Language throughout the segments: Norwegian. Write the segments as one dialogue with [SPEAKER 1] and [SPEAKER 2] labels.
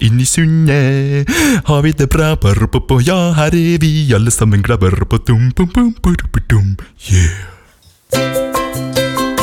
[SPEAKER 1] Inn i sundet har vi det bra. Ja, her er vi alle sammen glad. Yeah.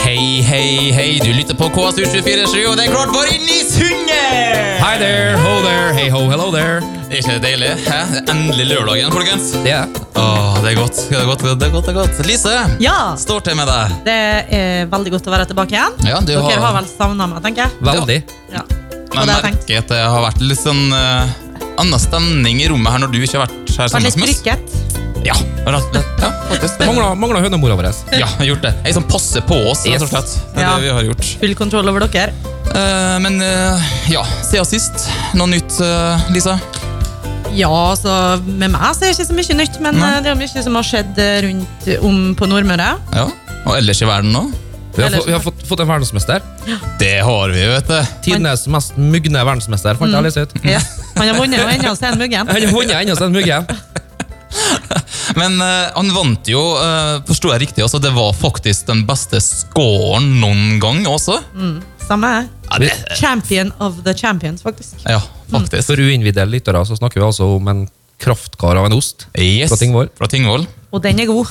[SPEAKER 2] Hei, hei, hei, du lytter på KSU247, og det er klart for inn i sundet!
[SPEAKER 3] Hi there, ho there, hey ho, hello there.
[SPEAKER 2] Er ikke det deilig? Hæ? Det er endelig lørdag igjen, folkens.
[SPEAKER 3] Det er det.
[SPEAKER 2] Åh, det er godt. Det er godt, det er godt, det er godt. Lise,
[SPEAKER 4] Ja,
[SPEAKER 2] står til med deg.
[SPEAKER 4] det er veldig godt å være tilbake igjen.
[SPEAKER 2] Ja, du
[SPEAKER 4] Dere
[SPEAKER 2] har-
[SPEAKER 4] har vel savna meg, tenker jeg.
[SPEAKER 3] Veldig.
[SPEAKER 2] Men
[SPEAKER 4] Ja. Og det har jeg tenkt.
[SPEAKER 2] merker at det har vært litt sånn eh, annen stemning i rommet her når du ikke har vært her
[SPEAKER 4] Vært
[SPEAKER 2] sammen
[SPEAKER 4] litt
[SPEAKER 2] med oss.
[SPEAKER 4] drukket.
[SPEAKER 2] Ja, rett, ja, faktisk. Det.
[SPEAKER 3] Mangla, mangla hønemora vår.
[SPEAKER 2] Ja, jeg har gjort det. Jeg som passer på oss, rett og
[SPEAKER 3] Yes.
[SPEAKER 2] slett. Det er
[SPEAKER 4] Ja.
[SPEAKER 2] det vi har gjort.
[SPEAKER 4] Full kontroll over dere.
[SPEAKER 2] Eh, men eh, ja, siden sist. Noe nytt, eh, Lise?
[SPEAKER 4] Ja, altså, med meg så er det ikke så mye nytt, men
[SPEAKER 2] Nei.
[SPEAKER 4] eh, det er jo mye som har skjedd eh, rundt om på Nordmøre.
[SPEAKER 2] Ja. Og ellers i verden nå?
[SPEAKER 3] Vi har, fått, vi har fått, fått en verdensmester.
[SPEAKER 2] Det har vi, vet du.
[SPEAKER 3] Tidenes mest mugne verdensmester. Fant jeg lese ut.
[SPEAKER 2] Mm.
[SPEAKER 4] Han har vunnet og ennå så er han muggen.
[SPEAKER 3] Han har vunnet ennå, så den muggen.
[SPEAKER 2] Men eh, han vant jo, uh, forsto jeg riktig også, det var faktisk den beste scoren noen gang også.
[SPEAKER 4] Samme her.
[SPEAKER 2] Ja, det,
[SPEAKER 4] Champion of the champions, faktisk.
[SPEAKER 2] ja faktisk.
[SPEAKER 3] For uinnvidde lyttere så snakker vi altså om en kraftkar av en ost.
[SPEAKER 2] Yes.
[SPEAKER 3] Fra Tingvoll.
[SPEAKER 2] Fra Tingvoll.
[SPEAKER 4] Og den er god.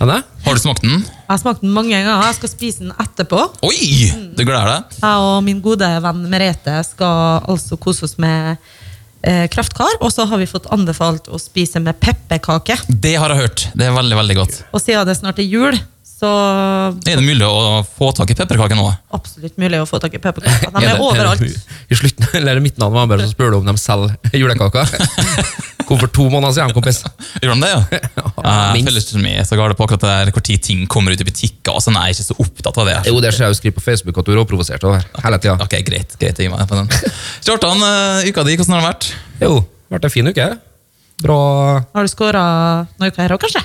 [SPEAKER 3] Er det?
[SPEAKER 2] Har du smakt den?
[SPEAKER 4] Jeg har smakt den mange ganger. Jeg skal spise den etterpå.
[SPEAKER 2] Oi! Du gleder deg?
[SPEAKER 4] Jeg og min gode venn Merete skal altså kose oss med eh, kraftkar. Og så har vi fått anbefalt å spise med pepperkake.
[SPEAKER 2] Det har jeg hørt. Det er veldig, veldig godt.
[SPEAKER 4] Og siden det snart er jul, så
[SPEAKER 2] Er det mulig å få tak i pepperkaker nå?
[SPEAKER 4] absolutt mulig å få tak i pepperkaker.
[SPEAKER 2] Er
[SPEAKER 4] De
[SPEAKER 2] det-
[SPEAKER 4] er overalt.
[SPEAKER 3] I slutten, eller i midten av november så spør du om de selger julekaker. Kom for to måneder siden, kompis.
[SPEAKER 2] Gjør de det, ja? Eh,
[SPEAKER 3] Ja,
[SPEAKER 2] Jeg
[SPEAKER 3] minst.
[SPEAKER 2] føler ikke mye så galt på akkurat det der hvor tid ting kommer ut i butikker. og sånn. Jeg er ikke så opptatt av det.
[SPEAKER 3] Jo, det ser jeg jo skriver på Facebook at du er råprovosert over hele tida.
[SPEAKER 2] Ok, greit. greit jeg gir meg på den. Kjartan, eh, uka di, hvordan har den vært?
[SPEAKER 3] Jo, vært en fin uke. Bra
[SPEAKER 4] Har du skåra noe her òg, kanskje?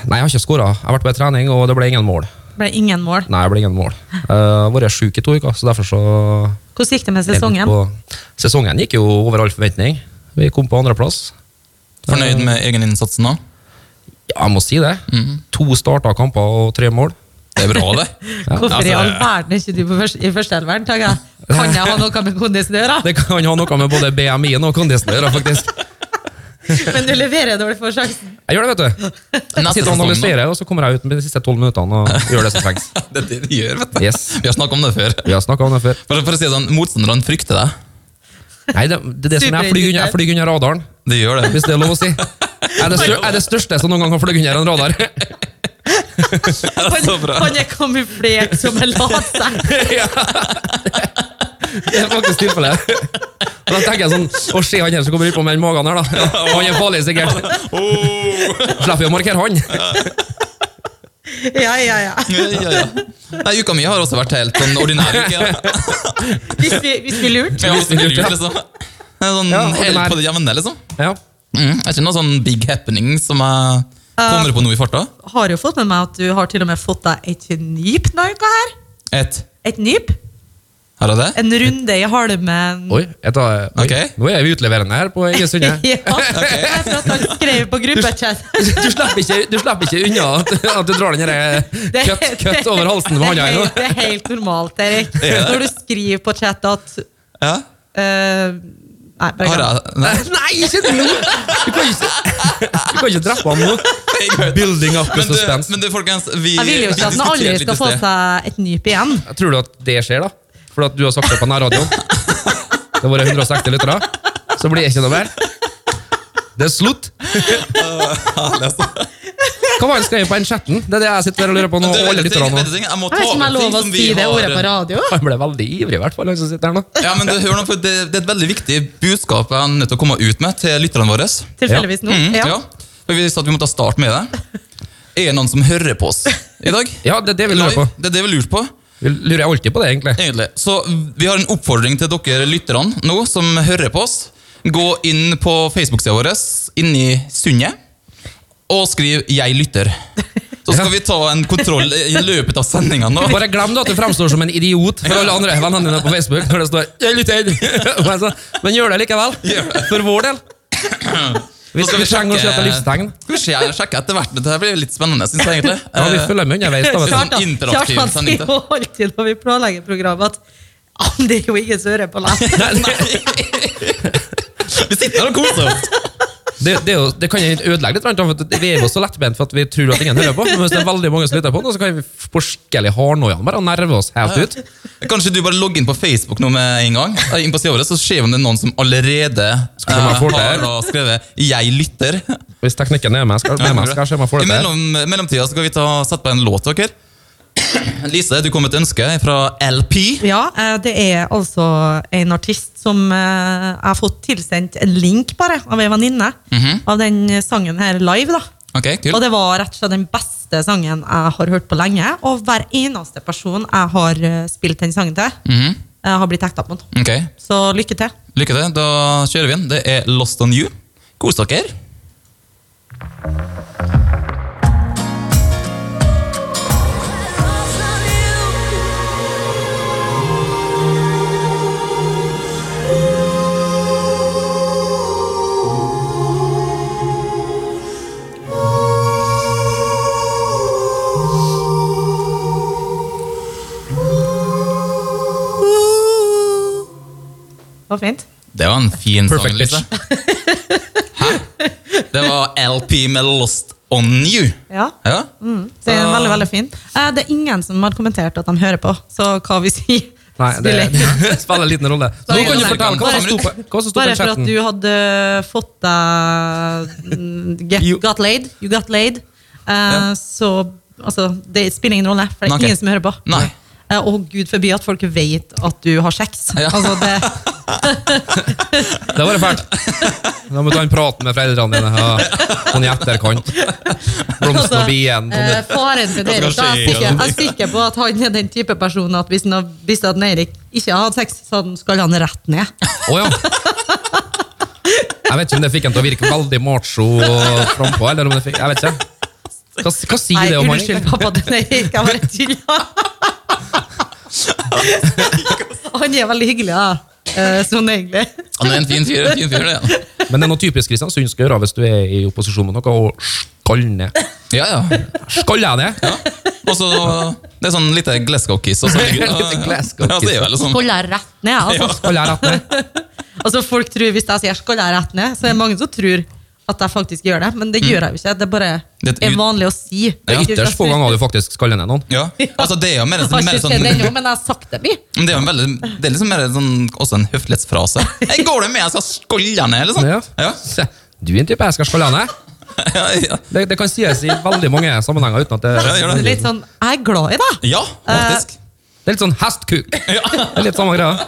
[SPEAKER 3] Nei, jeg har ikke skåra. Jeg har vært på en trening, og det ble ingen mål.
[SPEAKER 4] Ble ingen mål.
[SPEAKER 3] Nei, det ble ingen mål. Eh, Jeg har vært sjuk i to uker, så derfor så
[SPEAKER 4] Hvordan gikk det med sesongen?
[SPEAKER 3] På- Sesongen gikk jo over all forventning. Vi kom på andreplass.
[SPEAKER 2] Fornøyd med egeninnsatsen nå?
[SPEAKER 3] Ja, jeg må si det.
[SPEAKER 2] Mhm.
[SPEAKER 3] To starta kamper og tre mål.
[SPEAKER 2] Det er bra, det.
[SPEAKER 4] Hvorfor i
[SPEAKER 2] Altså,
[SPEAKER 4] all verden er ikke du på første, i førsteelveren? tenker jeg? Kan jeg ha noe med kondisen å gjøre?
[SPEAKER 3] Det kan ha noe med både BMI-en og kondisen å gjøre, faktisk.
[SPEAKER 4] Men du leverer når du får sjansen.
[SPEAKER 3] Jeg gjør det, vet du.
[SPEAKER 2] Neste
[SPEAKER 3] Jeg sitter og
[SPEAKER 2] sesong, da.
[SPEAKER 3] analyserer, og så kommer jeg ut med de siste tolv minuttene og gjør det som trengs.
[SPEAKER 2] Det er det de gjør, vet du.
[SPEAKER 3] Yes.
[SPEAKER 2] Vi har snakket om det før.
[SPEAKER 3] Vi har snakka om det før.
[SPEAKER 2] For, for å si det sånn, Motstanderne frykter deg.
[SPEAKER 3] Nei, det, det er det som er, jeg flyr under- jeg flyr under radaren,
[SPEAKER 2] De gjør det.
[SPEAKER 3] hvis det er lov å si. Jeg er det, stør, jeg er det største som noen gang har fløyet under en radar.
[SPEAKER 2] Det er så
[SPEAKER 4] Han,
[SPEAKER 2] bra.
[SPEAKER 4] han er kamuflert som en laser.
[SPEAKER 3] ja. Det er faktisk tilfellet. Og da tenker jeg sånn Å, se han her som kommer ut på med den magen her, da. Og han er farlig, sikkert.
[SPEAKER 2] Oh.
[SPEAKER 3] Slipper vi å markere han.
[SPEAKER 4] Ja, ja, ja.
[SPEAKER 2] Ja, ja, ja. Nei, uka mi har også vært helt sånn ordinær uke.
[SPEAKER 4] Hvis vi, hvis vi lurte.
[SPEAKER 2] Ja, også lurt, liksom. Det er Sånn,
[SPEAKER 3] Ja, ordinær.
[SPEAKER 2] helt på det jevne, liksom.
[SPEAKER 3] Ja.
[SPEAKER 2] Mm, er ikke noe sånn big happening som jeg
[SPEAKER 4] Ah.
[SPEAKER 2] kommer på nå i farta?
[SPEAKER 4] har jo fått med meg at du har til og med fått deg et nyp denne uka her.
[SPEAKER 2] Et.
[SPEAKER 4] Et nyp.
[SPEAKER 2] Her er det?
[SPEAKER 4] En runde i halmen.
[SPEAKER 3] Oi, jeg tar, oi.
[SPEAKER 2] Ok.
[SPEAKER 3] Nå er vi utleverende her på Egesundet.
[SPEAKER 4] Ja, etter at han skrev på gruppechat.
[SPEAKER 3] Du slipper ikke, du slipper ikke unna at, at du drar den der
[SPEAKER 4] Det-
[SPEAKER 3] cut, cut over halsen på
[SPEAKER 4] det er
[SPEAKER 3] handa her
[SPEAKER 4] helt-
[SPEAKER 3] nå.
[SPEAKER 4] Det er helt normalt, Erik. Når du skriver på chat at
[SPEAKER 2] Ja.
[SPEAKER 4] eh, Nei, bare
[SPEAKER 2] Har
[SPEAKER 4] glem det.
[SPEAKER 2] jeg? Nei.
[SPEAKER 3] Nei, ikke nå! Du kan ikke, du kan ikke drepe han nå. Building up the
[SPEAKER 2] Men du,
[SPEAKER 3] suspense.
[SPEAKER 2] men du, folkens, vi
[SPEAKER 4] Jeg vil jo ikke at han aldri skal få seg et nyp igjen.
[SPEAKER 3] Jeg tror du at det skjer, da? For at du har sagt det på nærradioen. Det har vært 160 lyttere. Så blir det ikke noe mer. Det er slutt. Hva var det han skrev på den chatten? Det er det jeg sitter og lurer på nå. og alle lytterne
[SPEAKER 2] Jeg
[SPEAKER 3] nå.
[SPEAKER 2] må ta
[SPEAKER 4] Jeg vet ikke om jeg
[SPEAKER 2] opp ting
[SPEAKER 4] lov å
[SPEAKER 2] som vi
[SPEAKER 4] si det ordet på
[SPEAKER 2] har eh,
[SPEAKER 4] radio.
[SPEAKER 3] Han ble veldig ivrig, i hvert fall. han som sitter her nå.
[SPEAKER 2] Ja, men du, hør nå, for det, det er et veldig viktig budskap jeg er nødt til å komme ut med til lytterne våre.
[SPEAKER 4] Tilfeldigvis nå.
[SPEAKER 2] Mm, ja.
[SPEAKER 4] Ja.
[SPEAKER 2] For vi sa at vi måtte starte med det. Er det noen som hører på oss i dag?
[SPEAKER 3] Ja, det er det vi lurer på.
[SPEAKER 2] Live? Det er det vi lurer på.
[SPEAKER 3] Vi lurer alltid på det, egentlig.
[SPEAKER 2] egentlig. Så vi har en oppfordring til dere lytterne nå som hører på oss. Gå inn på Facebook-sida vår inni Sundet og skriv 'Jeg lytter'. Så skal vi ta en kontroll i løpet av sendinga nå.
[SPEAKER 3] Bare glem da at du fremstår som en idiot for alle andre vennene dine på Facebook. når det står «Jeg lytter». Men så- Men gjør det likevel. For vår del. Vi,
[SPEAKER 2] Nå skal
[SPEAKER 3] vi trenger å se etter livstegn.
[SPEAKER 2] Kanskje jeg sjekker etter hvert. Dette her blir litt spennende, synes jeg egentlig.
[SPEAKER 3] Ja, vi
[SPEAKER 2] Eh,
[SPEAKER 3] følger med underveis. da, vet du.
[SPEAKER 2] Sånn interaktiv
[SPEAKER 4] Kjartan
[SPEAKER 2] sending, da.
[SPEAKER 4] sier jo alltid når vi planlegger programmet, at «Ah, men det er jo ingen som hører på deg.
[SPEAKER 2] Eh, Vi sitter her og koser oss.
[SPEAKER 3] Det, det, er jo, det kan jeg ødelegge litt, for at vi er jo så lettbent for at vi tror at ingen hører på. Men hvis det er veldig mange som lytter på nå, så kan vi forskjellig hardnøyene bare og nerve oss helt ut.
[SPEAKER 2] Kanskje du bare logger inn på Facebook nå med en gang, eh, inn på siden vår, så ser vi om det er noen som allerede
[SPEAKER 3] Skal vi
[SPEAKER 2] eh,
[SPEAKER 3] ha fordel?
[SPEAKER 2] har da skrevet 'Jeg lytter'.
[SPEAKER 3] Hvis teknikken er med, skal, med meg, skal jeg se om jeg får
[SPEAKER 2] I
[SPEAKER 3] det til.
[SPEAKER 2] mellom, mellomtida skal vi ta, sette på en låt, dere. Lise, du kom med et ønske fra LP.
[SPEAKER 4] Ja, eh, det er altså en artist som eh, jeg har fått tilsendt en link bare av en venninne
[SPEAKER 3] Mhm.
[SPEAKER 4] av den sangen her live. da.
[SPEAKER 2] Ok,
[SPEAKER 4] Og
[SPEAKER 2] kult.
[SPEAKER 4] det var rett og slett den beste sangen jeg har hørt på lenge. Og hver eneste person jeg har eh, spilt den sangen til,
[SPEAKER 3] Mhm.
[SPEAKER 4] eh, har blitt hekta på den.
[SPEAKER 2] Ok,
[SPEAKER 4] Så lykke til.
[SPEAKER 2] Lykke til. Da kjører vi inn. Det er 'Lost on You'. Kos dere.
[SPEAKER 4] Det var fint.
[SPEAKER 2] Det var en fin sang,
[SPEAKER 3] Perfect pitch.
[SPEAKER 2] Lise. Hæ? Det var LP med 'Lost on You'.
[SPEAKER 4] Ja.
[SPEAKER 2] Ja?
[SPEAKER 4] Det er
[SPEAKER 2] Så-
[SPEAKER 4] veldig, veldig fint. Eh, Det er ingen som har kommentert at de hører på, så hva vi sier
[SPEAKER 3] Nei, det
[SPEAKER 4] spiller ingen-
[SPEAKER 3] spiller en liten rolle. Så nå kan du fortelle hva som sto på, hva som sto på
[SPEAKER 4] Bare for at
[SPEAKER 3] chatten.
[SPEAKER 4] du hadde fått deg mm, get,
[SPEAKER 3] You-
[SPEAKER 4] Got laid. You got laid. Eh, Så altså, det spiller ingen rolle, for det
[SPEAKER 2] Nei,
[SPEAKER 4] er
[SPEAKER 2] ok.
[SPEAKER 4] ingen som hører på.
[SPEAKER 2] Nei.
[SPEAKER 4] Eh, og gud forby at folk vet at du har sex.
[SPEAKER 2] Ja.
[SPEAKER 4] Altså, det,
[SPEAKER 3] Det var det fælt. Da må du ta en prat med foreldrene dine. Ja. Sånn i etterkant. Blomsten og bien. Sånn.
[SPEAKER 4] eh, faren til
[SPEAKER 2] Hva
[SPEAKER 4] Erik,
[SPEAKER 2] skal
[SPEAKER 4] da, jeg, er
[SPEAKER 2] skje?
[SPEAKER 4] sikker, jeg er sikker på at han er den type person at hvis han har visst at Eirik ikke har hatt sex, så hadde han- skal han rett ned.
[SPEAKER 3] Å ja. Jeg vet ikke om det fikk en til å virke veldig macho og frampå, eller om det fikk Jeg vet ikke. Hva, hva sier
[SPEAKER 4] Nei,
[SPEAKER 3] det om han?
[SPEAKER 4] unnskyld,
[SPEAKER 3] egentlig?
[SPEAKER 4] pappa til Eirik. Jeg bare tulla. Han er veldig hyggelig, da. Eh, Sånn egentlig.
[SPEAKER 2] Han er en fin fyr. En fin fyr det.
[SPEAKER 3] Men det er noe typisk Kristiansund skal gjøre hvis du er i opposisjon mot noe, og skall ned.
[SPEAKER 2] Ja, ja.
[SPEAKER 3] Skall jeg ned?
[SPEAKER 2] ja. Og så Det er sånn lite Glasgow-kiss. og så ligger-
[SPEAKER 3] Lite Glasgow-kiss.
[SPEAKER 2] Ja, det er vel sånn.
[SPEAKER 4] Skål jeg rett ned, altså.
[SPEAKER 3] Skall jeg rett ned?
[SPEAKER 4] altså folk tror, Hvis jeg sier 'skål jeg rett ned', så er det mange som tror at jeg faktisk gjør det. Men det gjør jeg jo ikke. Det er bare
[SPEAKER 2] Det er et
[SPEAKER 4] er
[SPEAKER 2] ut-
[SPEAKER 4] vanlig å si.
[SPEAKER 3] Det er ytterst få ganger du faktisk skaller ned noen.
[SPEAKER 2] Ja, altså Det er jo mer, en
[SPEAKER 4] Jeg har
[SPEAKER 2] sånn, mer
[SPEAKER 4] ikke
[SPEAKER 2] sånn
[SPEAKER 4] sett det ennå,
[SPEAKER 2] men
[SPEAKER 4] men jeg har sagt det mye.
[SPEAKER 2] Det er jo en veldig Det er liksom mer en sånn, også en høflighetsfrase. Jeg 'Går du med, jeg skal skålle deg ned', eller
[SPEAKER 3] Ja.
[SPEAKER 2] sånn. Ja.
[SPEAKER 3] Se, Du er en type jeg skal skalle ned.
[SPEAKER 2] Ja, ja.
[SPEAKER 3] Det, det kan sies i veldig mange sammenhenger uten at det
[SPEAKER 2] Ja, gjør
[SPEAKER 4] Det er Litt sånn, Jeg er glad i deg.
[SPEAKER 2] ja, faktisk.
[SPEAKER 3] Det er litt sånn hestkuk. Det er litt samme greia.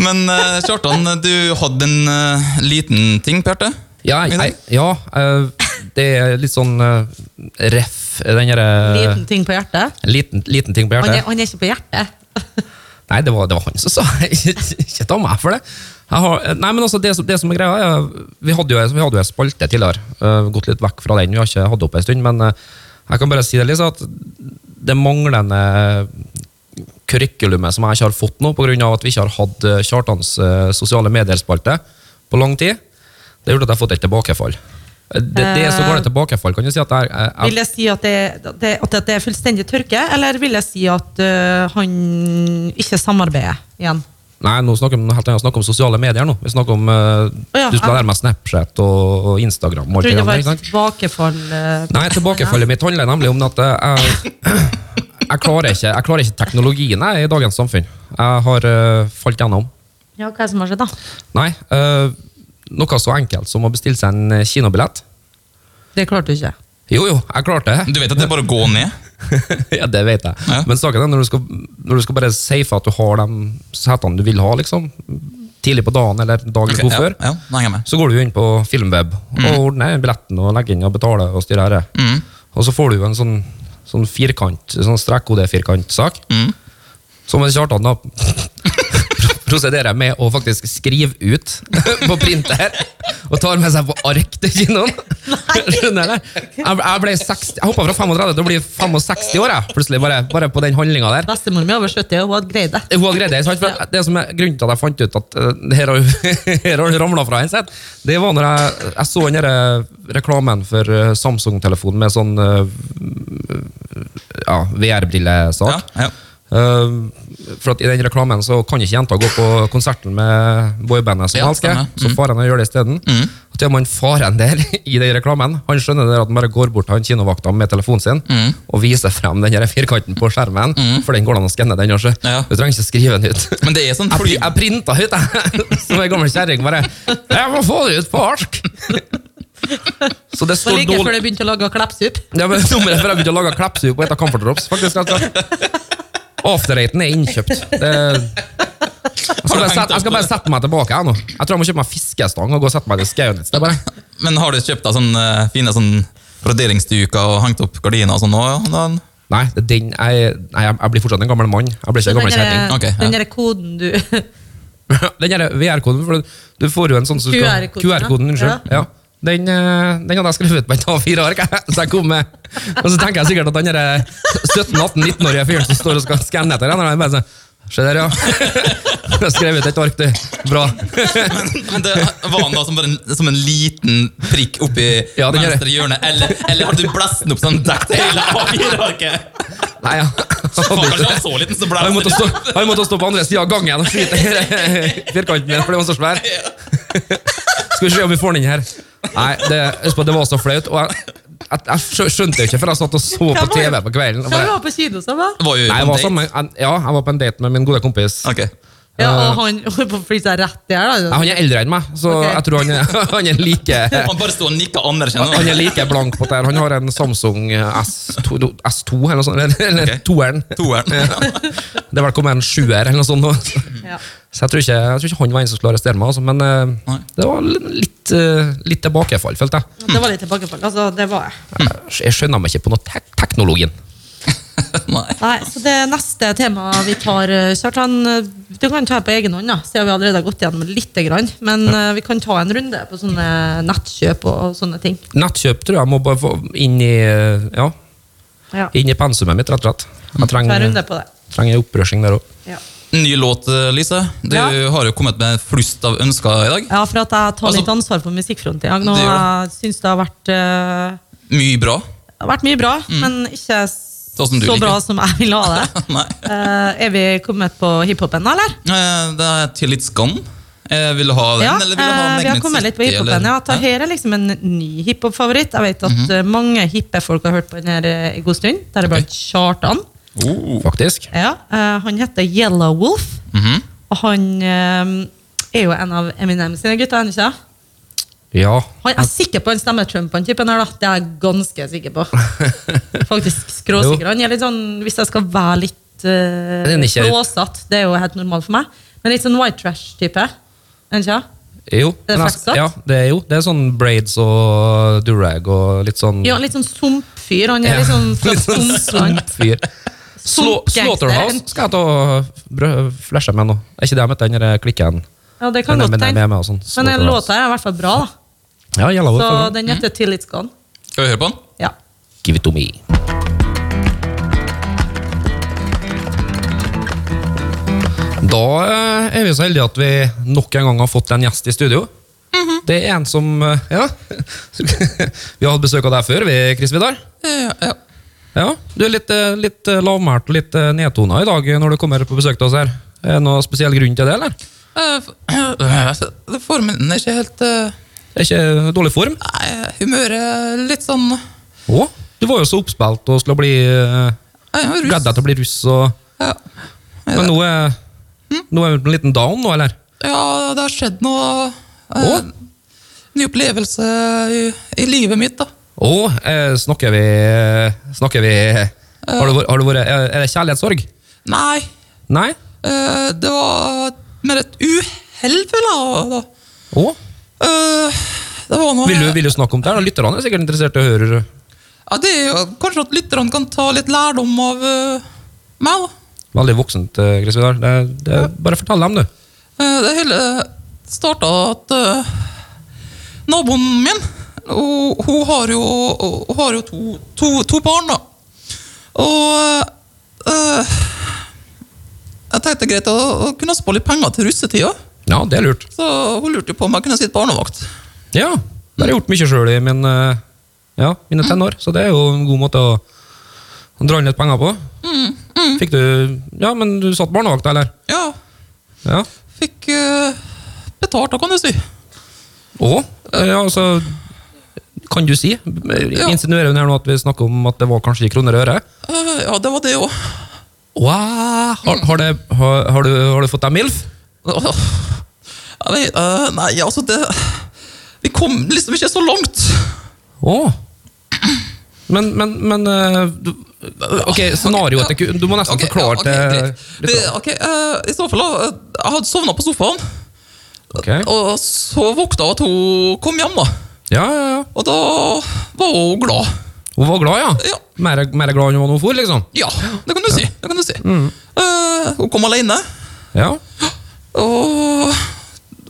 [SPEAKER 2] Men eh, Kjartan, du hadde en eh, liten ting, Bjarte?
[SPEAKER 3] Ja,
[SPEAKER 2] I dag?
[SPEAKER 3] jeg, ja eh, det er litt sånn eh, ref, den eh, derre
[SPEAKER 4] Liten ting på hjertet.
[SPEAKER 3] liten, liten ting på
[SPEAKER 4] Han er,
[SPEAKER 3] hjertet.
[SPEAKER 4] han er ikke på hjertet.
[SPEAKER 3] Nei, det var, det var han som sa Ikke ikke ta meg for det. Jeg har, nei, men altså, det, som- det som er greia, er Vi hadde jo, vi hadde jo en spalte tidligere. eh, gått litt vekk fra den. Vi har ikke hatt det opp en stund. Men eh, jeg kan bare si det litt, at det manglende kurrikulumet som jeg ikke har fått nå, pga. at vi ikke har hatt eh, Kjartans eh, sosiale medier-spalte på lang tid, det har gjort at jeg har fått et tilbakefall. Eh, Det, det som går det tilbakefall, kan du si at det er jeg- jeg-
[SPEAKER 4] Vil jeg si at det, det, at det er fullstendig tørke, eller vil jeg si at øh, han ikke samarbeider igjen?
[SPEAKER 3] Nei, nå snakker vi om, noe helt annet. Vi snakker om sosiale medier nå. Vi snakker om, eh,
[SPEAKER 4] ja,
[SPEAKER 3] Du skulle
[SPEAKER 4] ja.
[SPEAKER 3] nærme deg Snapchat og, og Instagram. Og alt
[SPEAKER 4] Jeg
[SPEAKER 3] det
[SPEAKER 4] trodde det
[SPEAKER 3] andre,
[SPEAKER 4] var
[SPEAKER 3] ikke
[SPEAKER 4] et
[SPEAKER 3] sant?
[SPEAKER 4] tilbakefall. øh,
[SPEAKER 3] Nei, tilbakefallet mitt handler nemlig om at jeg, jeg, klarer ikke, jeg klarer ikke teknologien jeg, i dagens samfunn. Jeg har eh, falt gjennom.
[SPEAKER 4] Ja, hva er det som har skjedd, da?
[SPEAKER 3] Nei, eh, noe så enkelt som å bestille seg en eh, kinobillett.
[SPEAKER 4] Det klarte du ikke.
[SPEAKER 3] Jo, jo, jeg klarte det.
[SPEAKER 2] Du vet at det er bare å gå ned?
[SPEAKER 3] ja, det vet jeg.
[SPEAKER 2] Ja.
[SPEAKER 3] Men saken er når du skal, når du skal bare safe at du har de setene du vil ha, liksom. Tidlig på dagen eller dagen
[SPEAKER 2] Ok,
[SPEAKER 3] god
[SPEAKER 2] ja,
[SPEAKER 3] før.
[SPEAKER 2] ja, nå henger jeg med.
[SPEAKER 3] Så går du inn på Filmweb og ordner billetten og legger inn og betaler og styrer herre. Og så får du jo en sånn, sånn firkant, sånn strekkodefirkantsak. Som en Kjartan da pr- prosederer jeg med å faktisk skrive ut på printer og tar med seg på ark til kinoen. Skjønner du? Jeg, jeg, ble 60 jeg hoppa fra 35 til å bli 65 år, jeg. plutselig, bare, bare på den handlinga der.
[SPEAKER 4] Bestemor mi er over 70, og hun hadde greid det.
[SPEAKER 3] Hun har greid det, sant? For det som er grunnen til at jeg fant ut at eh, her har hun- her har hun ramla fra en sett, det var når jeg, jeg så den der reklamen for eh, Samsung-telefonen med sånn eh, ja,
[SPEAKER 2] Ja,
[SPEAKER 3] VR-brillesak.
[SPEAKER 2] ja.
[SPEAKER 3] Eh, for at I den reklamen så kan ikke jenta gå på konserten med boybandet som
[SPEAKER 2] Ja,
[SPEAKER 3] ja, elsker,
[SPEAKER 2] stemmer. Mm.
[SPEAKER 3] så faren gjør det isteden. Og til og med han faren der i den reklamen Han skjønner det at han bare går bort til han kinovakta med telefonen sin
[SPEAKER 2] Mm.
[SPEAKER 3] og viser frem den her firkanten på skjermen, for den går det an å skanne den også.
[SPEAKER 2] Ja.
[SPEAKER 3] Du trenger ikke skrive den ut.
[SPEAKER 2] Men det er sånn
[SPEAKER 3] Jeg, pri-
[SPEAKER 2] fly...
[SPEAKER 3] jeg printa ut, jeg, som ei gammel kjerring. Bare 'Jeg må få det ut på ark!' Så det
[SPEAKER 4] Det var
[SPEAKER 3] står
[SPEAKER 4] like før
[SPEAKER 3] dårlig
[SPEAKER 4] de begynte å lage kleppsup.
[SPEAKER 3] ja, men Nummeret før jeg begynte å lage klepsup og hete Comfort Drops. faktisk. Altså. After-raten er innkjøpt. Det... Jeg, skal bare sette, jeg skal bare sette meg tilbake. Jeg, nå. jeg tror jeg må kjøpe meg fiskestang og gå og sette meg til skauen et sted. bare.
[SPEAKER 2] Men har du kjøpt deg sånne eh, fine sånn broderingsduker og hengt opp gardiner og sånn òg? Ja, da-
[SPEAKER 3] Nei, det er den, jeg, nei, jeg- jeg blir fortsatt en gammel mann. Jeg blir ikke en
[SPEAKER 4] Den
[SPEAKER 3] gammel
[SPEAKER 4] der-
[SPEAKER 3] kjerring.
[SPEAKER 2] Ok, ja.
[SPEAKER 4] den der koden du
[SPEAKER 3] Den der VR-koden, for du får jo en sånn som du skal-
[SPEAKER 4] QR-koden, ja.
[SPEAKER 3] QR-koden, unnskyld. Ja. Den, eh, den hadde jeg skrevet på et A4-ark. Så jeg kom med. Og så tenker jeg sikkert at den der 17-18-19-årige fyren som står og skal skanne etter den, han bare sånn Se der, ja. Jeg har skrevet et ark, du. Bra.
[SPEAKER 2] Men det Var den da som, bare en, som en liten prikk oppi
[SPEAKER 3] Ja, det gjør
[SPEAKER 2] venstre hjørne? Eller, eller hadde du blæst den opp sånn dekket hele A4-arket?
[SPEAKER 3] Nei, ja.
[SPEAKER 2] Faen, kanskje han så liten, så
[SPEAKER 3] Han
[SPEAKER 2] blæste
[SPEAKER 3] måtte
[SPEAKER 2] den.
[SPEAKER 3] stå, han måtte stå på andre sida av gangen og skyte firkanten min, for den var så sånn svær. Skal vi se om vi får den inn her. Nei, det, husk på, det var så flaut. Og jeg, jeg, jeg skjø- skjønte det ikke, for jeg satt og så på TV på kvelden. Og
[SPEAKER 4] Hva
[SPEAKER 3] bare,
[SPEAKER 4] var på kino sammen?
[SPEAKER 2] Det var jo
[SPEAKER 3] nei, jeg, var
[SPEAKER 2] en
[SPEAKER 3] sammen, jeg, ja, jeg var på en date med min gode kompis.
[SPEAKER 2] date. Ok.
[SPEAKER 4] Ja, og han holdt på å fly seg rett der,
[SPEAKER 3] Nei,
[SPEAKER 4] da.
[SPEAKER 3] han er eldre enn meg, så
[SPEAKER 4] Ok.
[SPEAKER 3] jeg tror han er, han er like
[SPEAKER 2] Han bare sto og nikka anerkjennende.
[SPEAKER 3] han er like blank på det her. Han har en Samsung S2, S2 eller noe sånt. Eller, eller
[SPEAKER 2] Ok.
[SPEAKER 3] toeren.
[SPEAKER 2] Toeren.
[SPEAKER 3] Det er vel kommet en sjuer eller noe sånt. nå.
[SPEAKER 4] Ja.
[SPEAKER 3] Så jeg tror, ikke, jeg tror ikke han var en som skulle arrestere meg, altså, men eh,
[SPEAKER 2] Nei.
[SPEAKER 3] det var li- litt, eh, litt tilbakefall, følte jeg.
[SPEAKER 4] Det var litt tilbakefall. Altså, det var jeg.
[SPEAKER 2] Mm.
[SPEAKER 3] Jeg skjønner meg ikke på noe tek teknologien.
[SPEAKER 2] Nei.
[SPEAKER 4] Nei, så det neste temaet vi tar, eh, Kjartan, eh, du kan ta på egen hånd, da, siden vi allerede har gått gjennom lite grann. Men eh, vi kan ta en runde på sånne nettkjøp og, og sånne ting.
[SPEAKER 3] Nettkjøp tror jeg må bare få inn i, eh, ja,
[SPEAKER 4] Ja,
[SPEAKER 3] inn i pensumet mitt, rett og slett.
[SPEAKER 2] Mm.
[SPEAKER 3] Jeg
[SPEAKER 4] ta en
[SPEAKER 3] trenger,
[SPEAKER 4] runde på det.
[SPEAKER 3] trenger en opprørsing der òg.
[SPEAKER 4] Ja,
[SPEAKER 2] Ny låt, eh, Lise. Du
[SPEAKER 4] Ja.
[SPEAKER 2] har jo kommet med en flust av ønsker i dag.
[SPEAKER 4] ja for at jeg tar
[SPEAKER 2] Altså-
[SPEAKER 4] litt ansvar på musikkfronten i dag. Nå
[SPEAKER 2] Det gjør
[SPEAKER 4] jeg synes det har vært, eh,
[SPEAKER 2] Mye bra.
[SPEAKER 4] det har vært mye bra, men ikke s-
[SPEAKER 2] Mm. Sånn som du
[SPEAKER 4] så bra
[SPEAKER 2] liker.
[SPEAKER 4] som jeg ville ha det.
[SPEAKER 2] Nei.
[SPEAKER 4] Eh, er vi kommet på hiphopen, eller?
[SPEAKER 2] Eh, Det er til litt skam. Eh, Vil du ha den,
[SPEAKER 4] Ja,
[SPEAKER 2] eller vil du ha
[SPEAKER 4] eh, vi har
[SPEAKER 2] Magnet
[SPEAKER 4] kommet litt på
[SPEAKER 2] City,
[SPEAKER 4] hiphopen.
[SPEAKER 2] eller? Mhm.
[SPEAKER 4] Ja, dette her er liksom en ny hiphop-favoritt. Jeg vet at eh, mange hippe folk har hørt på den her eh, en god stund. Deriblant Kjartan.
[SPEAKER 2] Oh.
[SPEAKER 3] Faktisk.
[SPEAKER 4] Ja, eh, han heter Yellow Wolf.
[SPEAKER 2] Mhm.
[SPEAKER 4] Og han eh, er jo en av Eminem sine gutter, er han ikke?
[SPEAKER 3] Ja.
[SPEAKER 4] Han jeg er sikker på han stemmer Trump, han typen her, da. Det er jeg ganske sikker på. Faktisk skråsikker.
[SPEAKER 3] Jo.
[SPEAKER 4] Han er litt sånn, hvis jeg skal være litt eh,
[SPEAKER 3] Den er ikke-
[SPEAKER 4] flåsatt, det er jo helt normalt for meg, men litt sånn white trash-type. Er han ikke?
[SPEAKER 3] Jo.
[SPEAKER 4] Det er
[SPEAKER 3] men jeg-
[SPEAKER 4] flaksete.
[SPEAKER 3] ja, det er jo. Det er sånn braids og durag og litt sånn
[SPEAKER 4] Ja, litt sånn sumpfyr. Han er
[SPEAKER 3] Ja.
[SPEAKER 4] litt sånn fra
[SPEAKER 3] Litt sånn
[SPEAKER 4] sumpland.
[SPEAKER 3] sumpfyr. Slå-
[SPEAKER 4] Sumpgangster.
[SPEAKER 3] Slaughterhouse skal jeg ta og brø- flashe med nå. Er ikke det jeg mente, den der klikken?
[SPEAKER 4] Ja, det kan
[SPEAKER 3] Den er
[SPEAKER 4] godt
[SPEAKER 3] med- den er med
[SPEAKER 4] hende.
[SPEAKER 3] og sånn,
[SPEAKER 4] Men den
[SPEAKER 3] Slaughterhouse.
[SPEAKER 4] låta er i hvert fall bra, da.
[SPEAKER 3] Ja, jævla
[SPEAKER 4] Så
[SPEAKER 3] hvorfor?
[SPEAKER 4] den heter Till It's Gone.
[SPEAKER 2] Skal vi høre på den?
[SPEAKER 4] Ja.
[SPEAKER 3] Give it to me. Da eh, er vi så heldige at vi nok en gang har fått en gjest i studio. Det er en som eh, Ja. vi har hatt besøk av deg før, vi, Chris Vidar.
[SPEAKER 2] Ja, ja.
[SPEAKER 3] Ja, Du er litt, eh, litt eh, lavmælt og litt eh, nedtona i dag eh, når du kommer på besøk til oss her. Er det noen spesiell grunn til det, eller?
[SPEAKER 2] Eh, f- altså, det- Formen er ikke helt eh,
[SPEAKER 3] Det er ikke dårlig form?
[SPEAKER 2] Nei, humøret er litt sånn eh,
[SPEAKER 3] Å, du var jo så oppspilt og skulle bli eh,
[SPEAKER 2] rus.
[SPEAKER 3] Gledd deg til å bli russ og
[SPEAKER 2] Ja.
[SPEAKER 3] Men nå er, nå er du på en liten down nå, eller?
[SPEAKER 2] ja, det har skjedd noe eh,
[SPEAKER 3] Å?
[SPEAKER 2] Ny opplevelse i, i livet mitt, da.
[SPEAKER 3] Å, eh, snakker vi eh, Snakker vi Har du, vært- har du vært Er er det kjærlighetssorg?
[SPEAKER 2] Nei,
[SPEAKER 3] Nei?
[SPEAKER 2] eh, det var mer et uhell, føler jeg. da.
[SPEAKER 3] Å?
[SPEAKER 2] Eh, det var noe
[SPEAKER 3] Vil du, vil du snakke om det? her, da? Lytterne er sikkert interessert i å høre.
[SPEAKER 2] Ja, det er jo Kanskje at lytterne kan ta litt lærdom av eh, meg, da.
[SPEAKER 3] Veldig voksent, eh, Chris Vidar. Det, det, bare fortell dem, du.
[SPEAKER 2] Eh, Det hele starta at eh, naboen min hun, hun, har jo, hun har jo to, to, to barn, da. Og eh, jeg tenkte greit å, å kunne spare litt penger til russetida.
[SPEAKER 3] Ja, det er lurt.
[SPEAKER 2] Så hun lurte jo på om jeg kunne sitte barnevakt.
[SPEAKER 3] Ja, det har jeg gjort mye sjøl i min, eh, ja, mine tenår, så det er jo en god måte å å dra inn litt penger på. Fikk du Ja, men du satt barnevakt, eller?
[SPEAKER 2] Ja,
[SPEAKER 3] Ja.
[SPEAKER 2] fikk eh, betalt, da, kan du si.
[SPEAKER 3] Og, ja, altså Kan du si? Insinuerer hun her nå at vi snakker om at det var kanskje i kroner og øre?
[SPEAKER 2] Eh, ja, det var det òg.
[SPEAKER 3] Wow. Har, har, det, har, har, du, har du fått deg MILF?
[SPEAKER 2] Jeg vet, eh, nei, altså det Vi kom liksom ikke så langt.
[SPEAKER 3] Å! Men, men, men eh, du, Ok, scenarioet til ku- Du må nesten
[SPEAKER 2] Ok,
[SPEAKER 3] forklare
[SPEAKER 2] ja, ok, greit.
[SPEAKER 3] til
[SPEAKER 2] det Ok, eh, I så fall, da, eh, jeg hadde sovna på sofaen,
[SPEAKER 3] Ok. Ja,
[SPEAKER 2] og så våkna jeg at hun kom hjem. da.
[SPEAKER 3] ja, ja.
[SPEAKER 2] Og da var hun glad.
[SPEAKER 3] Hun var glad, ja?
[SPEAKER 2] Ja.
[SPEAKER 3] Mer, mer glad enn hun var nå for, liksom?
[SPEAKER 2] Ja, det kan du si. det kan du si. Eh, hun kom alene,
[SPEAKER 3] Ja.
[SPEAKER 2] og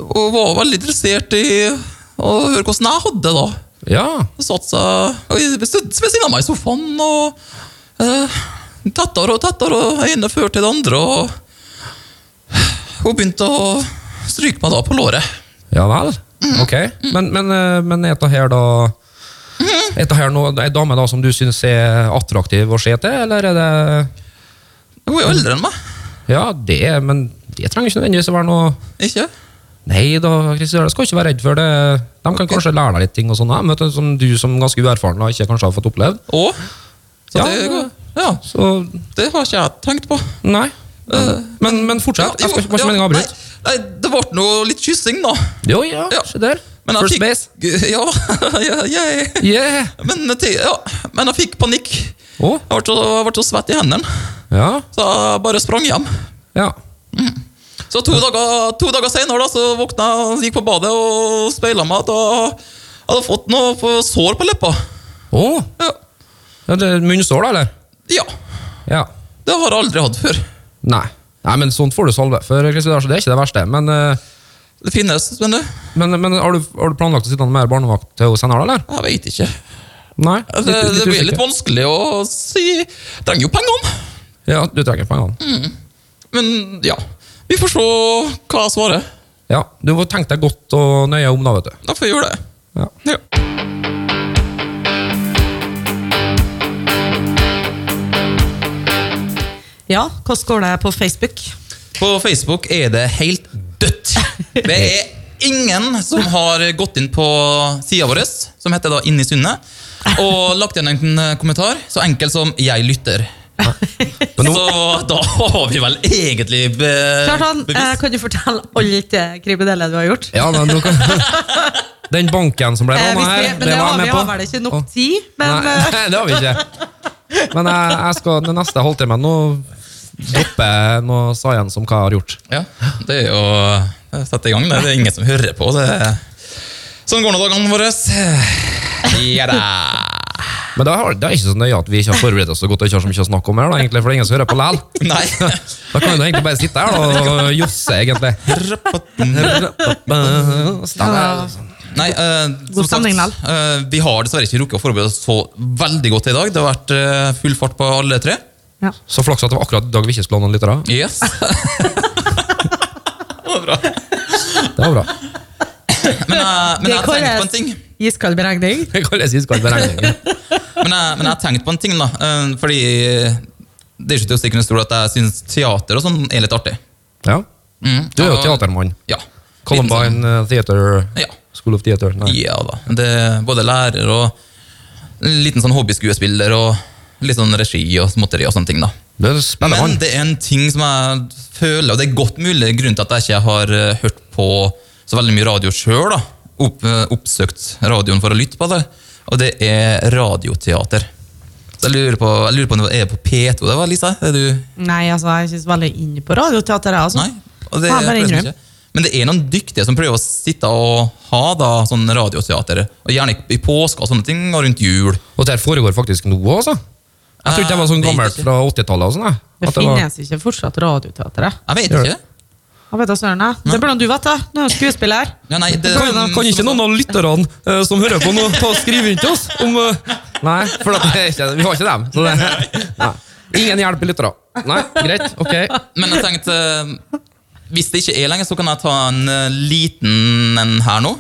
[SPEAKER 2] hun var veldig interessert i å høre hvordan jeg hadde det. da.
[SPEAKER 3] Ja.
[SPEAKER 2] Hun satt seg og ved siden av meg i sofaen og eh, tettere og tettere, og det ene førte til det andre. og Hun begynte å stryke meg da på låret.
[SPEAKER 3] Ja vel? Ok. Men, men, eh, men er dette her da
[SPEAKER 2] Mm-hmm.
[SPEAKER 3] Er dette her noe, ei dame da som du syns er attraktiv å se til, eller er det
[SPEAKER 2] Hun er jo eldre enn meg.
[SPEAKER 3] Ja, det er- Men det trenger ikke nødvendigvis å være noe
[SPEAKER 2] Ikke?
[SPEAKER 3] Nei da, Christian, du skal ikke være redd for det. De kan kanskje lære deg litt ting og sånn, ja, men vet du, som du som ganske uerfaren da, ikke kanskje har fått opplevd.
[SPEAKER 2] Og Så
[SPEAKER 3] Ja,
[SPEAKER 2] det,
[SPEAKER 3] det-
[SPEAKER 2] ja,
[SPEAKER 3] Så,
[SPEAKER 2] det har ikke jeg tenkt på.
[SPEAKER 3] nei.
[SPEAKER 2] Eh,
[SPEAKER 3] Men, men fortsett. Jeg skal ikke, var ikke meningen å avbryte.
[SPEAKER 2] Nei, nei, det ble nå litt kyssing, da.
[SPEAKER 3] Jo, ja,
[SPEAKER 2] Ja.
[SPEAKER 3] se der.
[SPEAKER 2] Men jeg
[SPEAKER 3] First
[SPEAKER 2] fikk-
[SPEAKER 3] base.
[SPEAKER 2] Ja, ja, jeg-
[SPEAKER 3] Yeah!
[SPEAKER 2] Men, jeg te- ja. Men jeg fikk panikk.
[SPEAKER 3] Å,
[SPEAKER 2] Jeg ble så, jeg ble så svett i hendene,
[SPEAKER 3] ja.
[SPEAKER 2] så jeg bare sprang hjem.
[SPEAKER 3] ja.
[SPEAKER 2] Så to dager, to dager senere da, så våkna jeg og gikk på badet og speila meg. Da jeg hadde fått noe på- sår på leppa.
[SPEAKER 3] Å,
[SPEAKER 2] Ja.
[SPEAKER 3] ja, det er munnsår da, eller?
[SPEAKER 2] ja,
[SPEAKER 3] Ja.
[SPEAKER 2] det har jeg aldri hatt før.
[SPEAKER 3] Nei. Nei, men sånt får du salve for, Christian, så det er ikke det verste. Men, eh,
[SPEAKER 2] Det finnes, men det,
[SPEAKER 3] men, men har, du, har du planlagt å sitte med mer barnevakt til henne senere, eller?
[SPEAKER 2] jeg veit ikke.
[SPEAKER 3] Nei?
[SPEAKER 2] Altså, Det, det blir litt
[SPEAKER 3] usikker.
[SPEAKER 2] vanskelig å si. Jeg Trenger jo pengene.
[SPEAKER 3] Ja, du trenger på en gang.
[SPEAKER 2] Men ja, vi får se hva jeg svarer.
[SPEAKER 3] Ja, du må tenke deg godt og nøye om da, vet du.
[SPEAKER 2] Da får jeg gjøre det.
[SPEAKER 3] Ja.
[SPEAKER 2] Ja.
[SPEAKER 4] Ja, hvordan går det på Facebook?
[SPEAKER 2] På Facebook er det helt dødt. Det er ingen som har gått inn på sida vår, som heter da Inni sundet, og lagt igjen en kommentar så enkel som 'Jeg lytter'.
[SPEAKER 3] Men nå,
[SPEAKER 2] Så da har vi vel egentlig be
[SPEAKER 4] Kjartan, eh,
[SPEAKER 2] bevis.
[SPEAKER 4] kan du fortelle alle de kriminelle du har gjort?
[SPEAKER 3] ja, men nå kan, den banken som ble
[SPEAKER 4] Eh,
[SPEAKER 3] rana
[SPEAKER 4] hvis vi,
[SPEAKER 3] her,
[SPEAKER 4] men det har, vi
[SPEAKER 3] jeg
[SPEAKER 4] har vel ikke nok
[SPEAKER 3] Å,
[SPEAKER 4] tid, men
[SPEAKER 3] nei,
[SPEAKER 4] eh,
[SPEAKER 3] det har vi ikke. Men jeg, jeg skal den neste halvtimen nå droppe noe science om hva jeg har gjort.
[SPEAKER 2] Ja, det er jo å sette i gang. Det Det er ingen som hører på. Det. Sånn går nå dagene våre. Ja da.
[SPEAKER 3] Men det er, det er ikke så nøye at vi ikke har forberedt oss så godt og ikke har så mye å snakke om her, da, egentlig, for det er ingen som hører på likevel.
[SPEAKER 2] Nei.
[SPEAKER 3] Da kan vi da egentlig bare sitte her da, og josse, egentlig. Stemmer.
[SPEAKER 2] Nei, eh, som
[SPEAKER 4] stemning, Lal.
[SPEAKER 2] eh, vi har dessverre ikke rukket å forberede oss så veldig godt i dag. Det har vært eh, full fart på alle tre.
[SPEAKER 4] ja.
[SPEAKER 3] Så flaks at det var akkurat i dag vi ikke skulle ha noen lyttere.
[SPEAKER 2] Yes. det var bra.
[SPEAKER 3] Det var bra.
[SPEAKER 2] Men, jeg- men jeg har tenkt på en ting.
[SPEAKER 4] iskald beregning.
[SPEAKER 3] Det kalles iskald beregning.
[SPEAKER 2] Men jeg, men jeg har tenkt på en ting da, eh, fordi det er ikke til å stikke under stol at jeg syns teater og sånn er litt artig.
[SPEAKER 3] Ja.
[SPEAKER 2] Mm,
[SPEAKER 3] Du er jo
[SPEAKER 2] og-
[SPEAKER 3] teatermann.
[SPEAKER 2] Ja.
[SPEAKER 3] Columbine eh, Theater
[SPEAKER 2] Ja.
[SPEAKER 3] School of Theater. Nei.
[SPEAKER 2] sånn- Ja da. Det er både lærer og en liten sånn hobbyskuespiller og litt sånn regi og småtteri og sånne ting. da.
[SPEAKER 3] Det er spennende.
[SPEAKER 2] Men
[SPEAKER 3] mann.
[SPEAKER 2] det er en ting som jeg føler, og det er godt mulig grunnen til at jeg ikke har eh, hørt på så veldig mye radio sjøl. Opp, eh, oppsøkt radioen for å lytte på det, og det er radioteater. Så jeg lurer på, jeg lurer på om det er på P2 det var, Lisa? Er du
[SPEAKER 4] Nei, altså, jeg synes veldig inn på radioteater, jeg, altså.
[SPEAKER 2] Nei? Og det,
[SPEAKER 4] Ja, bare
[SPEAKER 2] jeg vet
[SPEAKER 4] innrøm.
[SPEAKER 2] ikke. Men det er noen dyktige som prøver å sitte og ha da, sånn radioteater, og gjerne i- i påska og sånne ting, og rundt jul.
[SPEAKER 3] Og det her foregår faktisk nå, altså. Jeg trodde det var sånn
[SPEAKER 2] Eh, vet
[SPEAKER 3] gammelt
[SPEAKER 2] ikke.
[SPEAKER 3] fra 80-tallet. og sånn, jeg.
[SPEAKER 4] Det
[SPEAKER 3] At det var-
[SPEAKER 4] finnes ikke fortsatt radioteater. jeg.
[SPEAKER 2] Jeg vet
[SPEAKER 3] Gjør
[SPEAKER 2] ikke.
[SPEAKER 3] det.
[SPEAKER 4] Jeg Jeg vet da søren, jeg. Det burde du vite. Du er jo skuespiller.
[SPEAKER 2] Ja, nei, det,
[SPEAKER 3] Kan, kan ikke noen av lytterne eh, som hører på nå, ta og skrive inn til oss? Om, eh, nei, for at, det er ikke, vi har ikke dem. Så det, nei. Ingen hjelp i lyttere. Nei, greit. Ok.
[SPEAKER 2] Men jeg tenkte eh, Hvis det ikke er lenge, så kan jeg ta en eh, liten en her nå.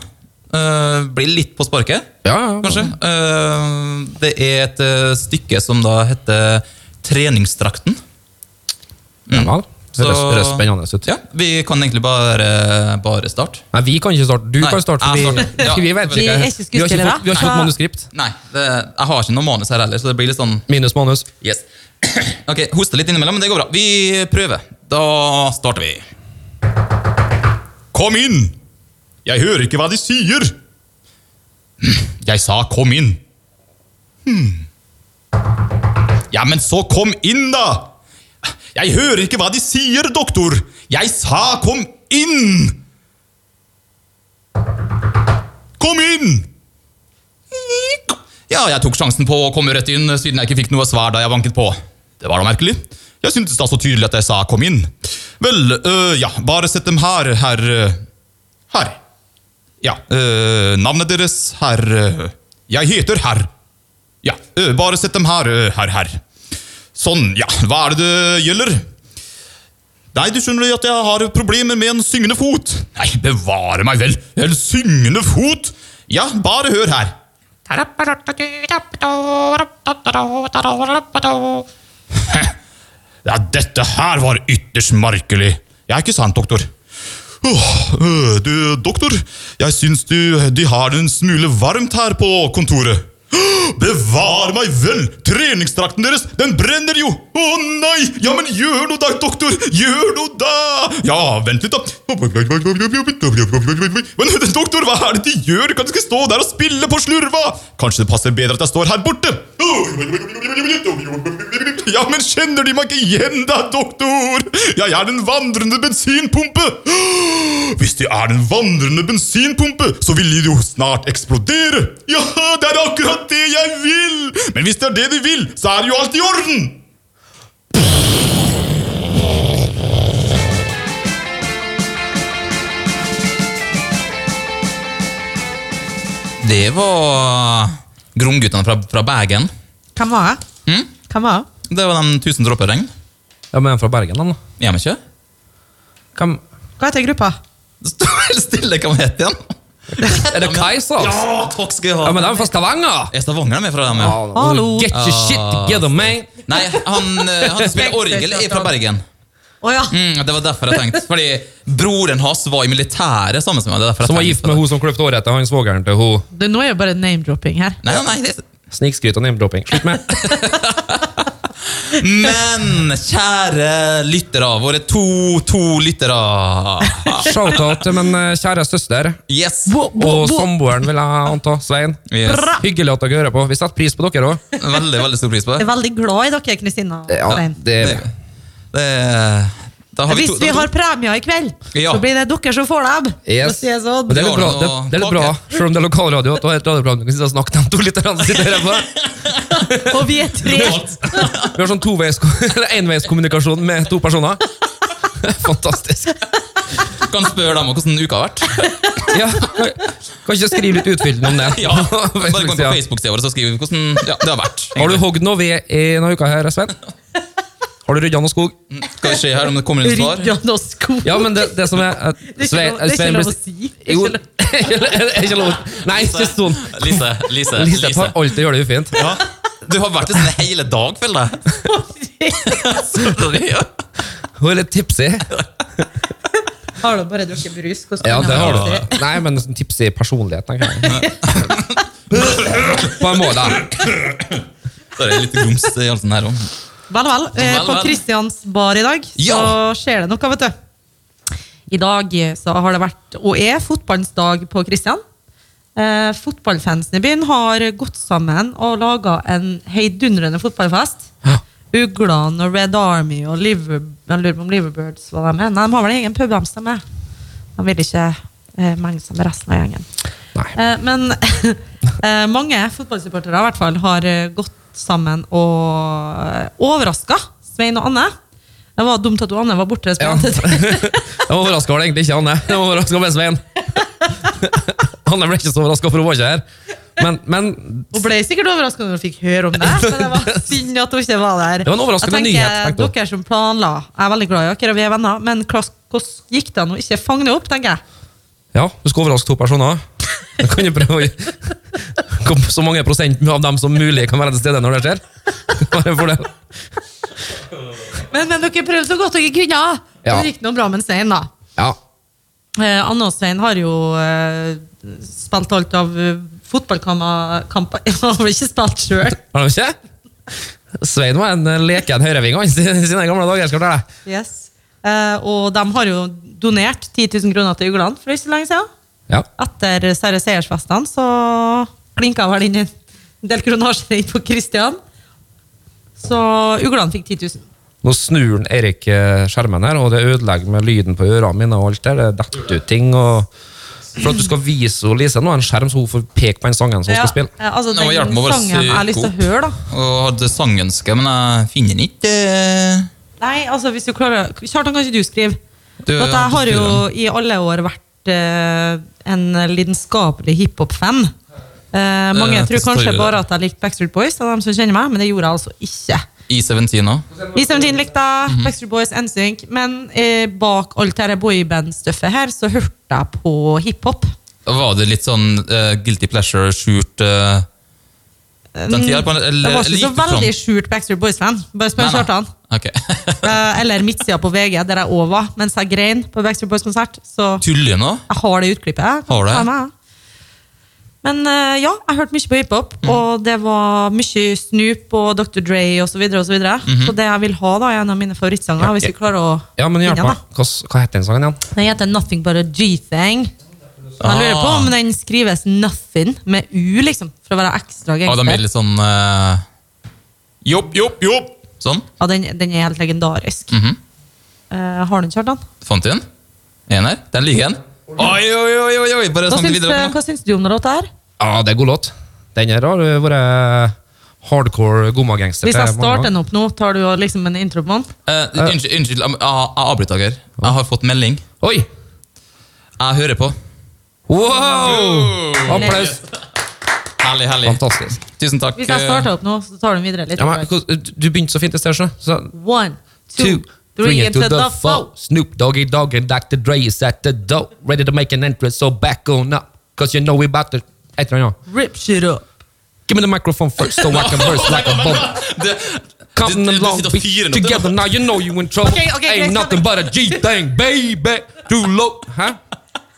[SPEAKER 2] Eh, blir litt på sparket,
[SPEAKER 3] Ja, ja,
[SPEAKER 2] kanskje. Eh, det er et eh, stykke som da heter Treningsdrakten.
[SPEAKER 3] Ja, vel. Det høres
[SPEAKER 2] Så-
[SPEAKER 3] høres spennende ut.
[SPEAKER 2] Ja, Vi kan egentlig bare, bare starte.
[SPEAKER 3] Nei, vi kan ikke starte. Du
[SPEAKER 2] Nei,
[SPEAKER 3] kan starte.
[SPEAKER 2] jeg
[SPEAKER 3] Vi,
[SPEAKER 2] starter. Ja.
[SPEAKER 3] vi vet
[SPEAKER 2] Vi
[SPEAKER 3] ikke.
[SPEAKER 4] er ikke
[SPEAKER 3] Vi har ikke
[SPEAKER 4] skuespillere.
[SPEAKER 3] fått, vi har ikke fått
[SPEAKER 4] Nei.
[SPEAKER 3] manuskript.
[SPEAKER 2] Nei, det, jeg har ikke noe manus her heller, så det blir litt sånn
[SPEAKER 3] Minus manus.
[SPEAKER 2] Yes. Ok, hoste litt innimellom, men det går bra. Vi prøver. Da starter vi. Kom inn! Jeg hører ikke hva de sier. Jeg sa kom inn. Hmm. Ja, men så kom inn, da! Jeg hører ikke hva de sier, doktor. Jeg sa kom inn! Kom inn! Ja, jeg tok sjansen på å komme rett inn siden jeg ikke fikk noe svar da jeg banket på. Det var da merkelig. Jeg syntes da så tydelig at jeg sa kom inn. Vel, øh, ja, bare sett dem her, herr øh, Her. Ja, øh, navnet deres, herr øh, Jeg heter herr. Ja, øh, bare sett dem her, øh, herr, herr. Sånn, ja, hva er det det gjelder? Nei, du skjønner jo at jeg har problemer med en syngende fot. Nei, bevare meg vel! En syngende fot? Ja, bare hør her. Ja, dette her var ytterst merkelig. Ja, ikke sant, doktor? Åh, øh, du, doktor, jeg syns du, de har det en smule varmt her på kontoret. Åh, Bevar meg vel! Treningsdrakten deres, den brenner jo! Å nei! Ja, men gjør noe da, doktor! Gjør noe da! Ja, vent litt, da. Men doktor, hva er det de gjør? Kan de ikke stå der og spille på slurva? Kanskje det passer bedre at jeg står her borte? Ja, men kjenner de meg ikke igjen da, doktor? Jeg er den vandrende bensinpumpe! Hvis de er den vandrende bensinpumpe, så vil de jo snart eksplodere! Ja, det er akkurat det jeg vil! Men hvis det er det de vil, så er jo alt i orden! Det var Gromguttene fra, fra Bergen.
[SPEAKER 4] Hvem var jeg?
[SPEAKER 2] Mm?
[SPEAKER 4] Hvem var jeg?
[SPEAKER 2] Det var den 1000 dråper regn.
[SPEAKER 3] Ja, men en fra Bergen, han da.
[SPEAKER 2] Er de ikke?
[SPEAKER 3] Hvem?
[SPEAKER 4] Hva heter gruppa?
[SPEAKER 2] Det står helt stille hva het igjen.
[SPEAKER 3] Er det Kajsa? altså? Ja,
[SPEAKER 2] Ja, takk skal jeg ha.
[SPEAKER 3] men de er fra Stavanger!
[SPEAKER 2] Er Stavanger med fra dem? Ja.
[SPEAKER 3] Ja,
[SPEAKER 4] Hallo.
[SPEAKER 3] Get your shit together, man!
[SPEAKER 2] Nei, han, eh, han som spiller orgel, er fra Bergen.
[SPEAKER 4] Å ja.
[SPEAKER 2] Mm, det var derfor jeg tenkte. Fordi broren hans var i militæret sammen med meg. Det er derfor jeg
[SPEAKER 3] Som var
[SPEAKER 2] tenkte
[SPEAKER 3] gift
[SPEAKER 2] på
[SPEAKER 3] med
[SPEAKER 2] det.
[SPEAKER 3] hun som kløpte håret til han svogeren til hun.
[SPEAKER 4] Det, nå er jo bare name-dropping her.
[SPEAKER 2] Nei, nei, nei, det...
[SPEAKER 3] Snikskryt og name-dropping. Slutt med.
[SPEAKER 2] Men kjære lyttere, våre to, to lyttere.
[SPEAKER 3] Shoutout til min eh, kjære søster
[SPEAKER 2] Yes.
[SPEAKER 3] og samboeren, vil jeg anta. Svein.
[SPEAKER 2] yes.
[SPEAKER 4] Bra.
[SPEAKER 3] Hyggelig at dere hører på. Vi setter pris på dere òg.
[SPEAKER 2] Veldig, veldig stor pris på
[SPEAKER 4] Jeg
[SPEAKER 2] det.
[SPEAKER 4] er veldig glad i dere, Kristina og Svein.
[SPEAKER 3] det
[SPEAKER 2] det, det da har vi
[SPEAKER 4] Hvis
[SPEAKER 2] to,
[SPEAKER 4] vi
[SPEAKER 2] da-
[SPEAKER 4] har premier i kveld,
[SPEAKER 2] Ja.
[SPEAKER 4] så blir det dere som får dem.
[SPEAKER 3] Yes.
[SPEAKER 4] For å si det sånn.
[SPEAKER 3] Men det er litt bra,
[SPEAKER 2] Vi har
[SPEAKER 3] det,
[SPEAKER 2] noe
[SPEAKER 3] det er litt bra selv om det er lokalradio, at du har et radioprogram du kan sitte og snakke dem to litt grann, sitte og høre på.
[SPEAKER 4] Og vi er tre.
[SPEAKER 3] Vi har sånn toveis- eller enveiskommunikasjon med to personer. Fantastisk.
[SPEAKER 2] Kan spørre dem om hvordan uka har vært.
[SPEAKER 3] Ja, kan kan ikke skrive litt utfyllende om det?
[SPEAKER 2] Ja.
[SPEAKER 3] På
[SPEAKER 2] Bare gå inn på
[SPEAKER 3] Facebook-sida.
[SPEAKER 2] Facebook-sida vår og skrive hvordan ja, det har vært.
[SPEAKER 3] Har du hogd noe ved i denne uka her, Svein? Har du rydda noe skog?
[SPEAKER 2] Skal vi se her om det kommer inn svar?
[SPEAKER 4] Rydda og sko.
[SPEAKER 3] Ja, men det, det som er at
[SPEAKER 4] Det er ikke
[SPEAKER 3] Svein-
[SPEAKER 4] lov- det er ikke
[SPEAKER 3] Svein
[SPEAKER 4] lov
[SPEAKER 3] blir-
[SPEAKER 4] å si. Det er
[SPEAKER 3] Jo,
[SPEAKER 4] ikke lov-
[SPEAKER 3] er ikke lov. Nei, ikke sånn.
[SPEAKER 2] Lise, Lise,
[SPEAKER 3] Lise
[SPEAKER 2] Lise.
[SPEAKER 3] tar alltid gjør det ufint.
[SPEAKER 2] Ja. Du har vært liksom en hele dag, føler jeg. Sorry, ja.
[SPEAKER 3] Hun er litt tipsy.
[SPEAKER 4] Har du bare drukket sånn? brus? Hvordan
[SPEAKER 3] Ja,
[SPEAKER 4] kan
[SPEAKER 3] det
[SPEAKER 4] jeg
[SPEAKER 3] har
[SPEAKER 4] si?
[SPEAKER 3] du. Nei, men sånn tipsy personlighet, tenker jeg. På en måte.
[SPEAKER 2] Så er det litt grums i halsen her òg.
[SPEAKER 4] Vel, vel. Eh,
[SPEAKER 2] Vel,
[SPEAKER 4] på
[SPEAKER 2] vel.
[SPEAKER 4] Kristians bar i dag så
[SPEAKER 2] Ja.
[SPEAKER 4] skjer det noe, vet du. I dag eh, så har det vært, og er, fotballens dag på Kristian. Eh, fotballfansen i byen har gått sammen og laga en heidundrende fotballfest. Uglan og Red Army og Liver, Jeg lurer på om Liverbirds var de med. Nei, de har vel egen pub, de som er med. De vil ikke eh, menge seg med resten av gjengen.
[SPEAKER 3] Nei.
[SPEAKER 4] Eh, men eh, mange fotballsupportere i hvert fall har eh, gått sammen og eh, overraska Svein og Anne. Det var dumt at du, Anne var borte.
[SPEAKER 3] Ja.
[SPEAKER 4] Svein.
[SPEAKER 3] Jeg overraska var det egentlig ikke Anne. Jeg overraska med Svein. Anne ble ikke så overraska, for hun var ikke her. Men, men
[SPEAKER 4] Hun ble sikkert overraska når hun fikk høre om det, men det var synd at hun ikke var der.
[SPEAKER 3] Det var en overraskende
[SPEAKER 4] jeg
[SPEAKER 3] nyhet, tenkte hun.
[SPEAKER 4] Dere som planla, jeg er veldig glad i dere, og vi er venner, men hva- hvordan gikk det an å ikke fange det opp, tenker jeg.
[SPEAKER 3] ja, du skal overraske to personer. Da kan du prøve å Kom så mange prosent av dem som mulig kan være til stede når det skjer. Bare for det.
[SPEAKER 4] Men, men dere prøvde så godt dere kunne.
[SPEAKER 3] Ja.
[SPEAKER 4] Ja. Det gikk noe bra med en Stein, da.
[SPEAKER 3] Ja.
[SPEAKER 4] Eh, Anne og Svein har jo eh, spilt alt av eh, fotballkamper Han har ikke spilt sjøl.
[SPEAKER 3] Har de ikke? Svein var en eh, leken høyreving han, i sine gamle dager. skal jeg fortelle deg.
[SPEAKER 4] Yes. Eh, og de har jo donert 10 000 kroner til Ugland for ikke så lenge siden.
[SPEAKER 3] Ja.
[SPEAKER 4] Etter Sverre Seiersfestene så klinka vel inn en del kronasjer inn på Christian. Så Ugland fikk 10 000.
[SPEAKER 3] Nå snur den Erik eh, skjermen her, og det ødelegger med lyden på ørene mine. og alt der. Det detter ut ting. og... For at du skal vise hun Lise nå en skjerm, så hun får peke på den sangen som hun skal spille.
[SPEAKER 4] Ja, eh, altså,
[SPEAKER 2] Nå må
[SPEAKER 4] den
[SPEAKER 2] hjelpe meg å bare
[SPEAKER 4] sangen jeg har lyst til å
[SPEAKER 2] søke
[SPEAKER 4] høre, da.
[SPEAKER 2] Og hadde sangønske, men jeg finner den ikke. eh,
[SPEAKER 4] Nei, altså hvis du klarer Kjartan, kan ikke du skrive?
[SPEAKER 2] Du,
[SPEAKER 4] For at
[SPEAKER 2] ja,
[SPEAKER 4] jeg har
[SPEAKER 2] du
[SPEAKER 4] jo
[SPEAKER 2] skriver.
[SPEAKER 4] i alle år vært eh, en lidenskapelig hiphop-fan. Eh, mange
[SPEAKER 2] Eh,
[SPEAKER 4] tror
[SPEAKER 2] forstår
[SPEAKER 4] kanskje
[SPEAKER 2] jeg det.
[SPEAKER 4] bare at jeg likte Backstreet Boys, av dem som kjenner meg, men det gjorde jeg altså ikke.
[SPEAKER 2] I17 òg.
[SPEAKER 4] I 17 likte jeg
[SPEAKER 2] Mhm.
[SPEAKER 4] Backstreet Boys, NSYNC, men eh, bak alt dette boyband-stuffet her, så hørte jeg på hiphop.
[SPEAKER 2] Var det litt sånn eh, guilty pleasure, skjult eh, den tida? på en- eller-
[SPEAKER 4] Mm, Jeg var ikke
[SPEAKER 2] eller
[SPEAKER 4] så
[SPEAKER 2] gikk du fram?
[SPEAKER 4] veldig skjult Backstreet Boys-fan. Bare spør
[SPEAKER 2] eh, sånn. Nei, nei.
[SPEAKER 4] Kjartan.
[SPEAKER 2] Ok.
[SPEAKER 4] Eh, eller midtsida på VG, der jeg òg var, mens jeg grein på Backstreet Boys-konsert. Så
[SPEAKER 2] Tuller du nå?
[SPEAKER 4] Jeg har det utklippet. Jeg.
[SPEAKER 2] Har du det?
[SPEAKER 4] Ta med, jeg. Men eh, ja, jeg hørte mye på hiphop,
[SPEAKER 2] Mhm.
[SPEAKER 4] og det var mye Snoop og Dr. Dre osv. Så, videre, og så, videre.
[SPEAKER 2] Mhm.
[SPEAKER 4] så det jeg vil ha, da, er en av mine favorittsanger. Hvis vi klarer å
[SPEAKER 3] Ja, men hjelp
[SPEAKER 4] finne den,
[SPEAKER 3] meg. Hva, hva heter den sangen igjen?
[SPEAKER 4] da. Den heter Nothing But A G-Thing. Jeg lurer på
[SPEAKER 2] Ah.
[SPEAKER 4] om den skrives Nothing med U, liksom, for å være
[SPEAKER 2] Ja,
[SPEAKER 4] ekstra
[SPEAKER 2] de er
[SPEAKER 4] gangster.
[SPEAKER 2] litt sånn eh, Jobb, jobb, jobb! Sånn.
[SPEAKER 4] Ja, den, den er helt legendarisk.
[SPEAKER 2] Mhm.
[SPEAKER 4] Eh, har du den, Kjartan?
[SPEAKER 2] Fant du den? Er den her? Den ligger igjen. Oi, oi, oi! oi, oi. Bare
[SPEAKER 4] Hva
[SPEAKER 2] snakk
[SPEAKER 4] syns,
[SPEAKER 2] sånn
[SPEAKER 4] eh,
[SPEAKER 2] videre.
[SPEAKER 4] hva syns du om den låta her?
[SPEAKER 3] Ja, det er god låt. Den her har jo vært eh, hardcore gomagangster.
[SPEAKER 4] Hvis jeg starter den opp nå, tar du jo liksom en intro på den?
[SPEAKER 2] Eh, unnskyld, unnskyld, jeg, jeg jeg avbryter dere. Jeg har fått melding.
[SPEAKER 3] Oi!
[SPEAKER 2] Jeg hører på.
[SPEAKER 3] Wow! Applaus.
[SPEAKER 2] Herlig, herlig.
[SPEAKER 3] Fantastisk.
[SPEAKER 2] Tusen takk. Eh,
[SPEAKER 4] Hvis jeg starter opp nå, så tar du den videre litt.
[SPEAKER 3] Ja, men, hvordan- du begynte så fint i sted, så. så
[SPEAKER 4] One, two, three, and to the foe.
[SPEAKER 3] Snoop Doggy Dogg and Dr. Dre is at the door. Ready to make an entrance, so back on up. Cause you know we about to... Et eller annet.
[SPEAKER 4] Rip shit up.
[SPEAKER 3] Give me the microphone first, so I can burst like a bomb.
[SPEAKER 2] Det-
[SPEAKER 3] Come
[SPEAKER 2] du- du
[SPEAKER 3] along,
[SPEAKER 2] sitter og
[SPEAKER 3] bitch,
[SPEAKER 2] fyrer den opp,
[SPEAKER 3] together now, you know you in trouble.
[SPEAKER 4] Okay, okay,
[SPEAKER 3] Ain't
[SPEAKER 4] greit,
[SPEAKER 3] nothing but a G-thing, baby. Too low. Hæ?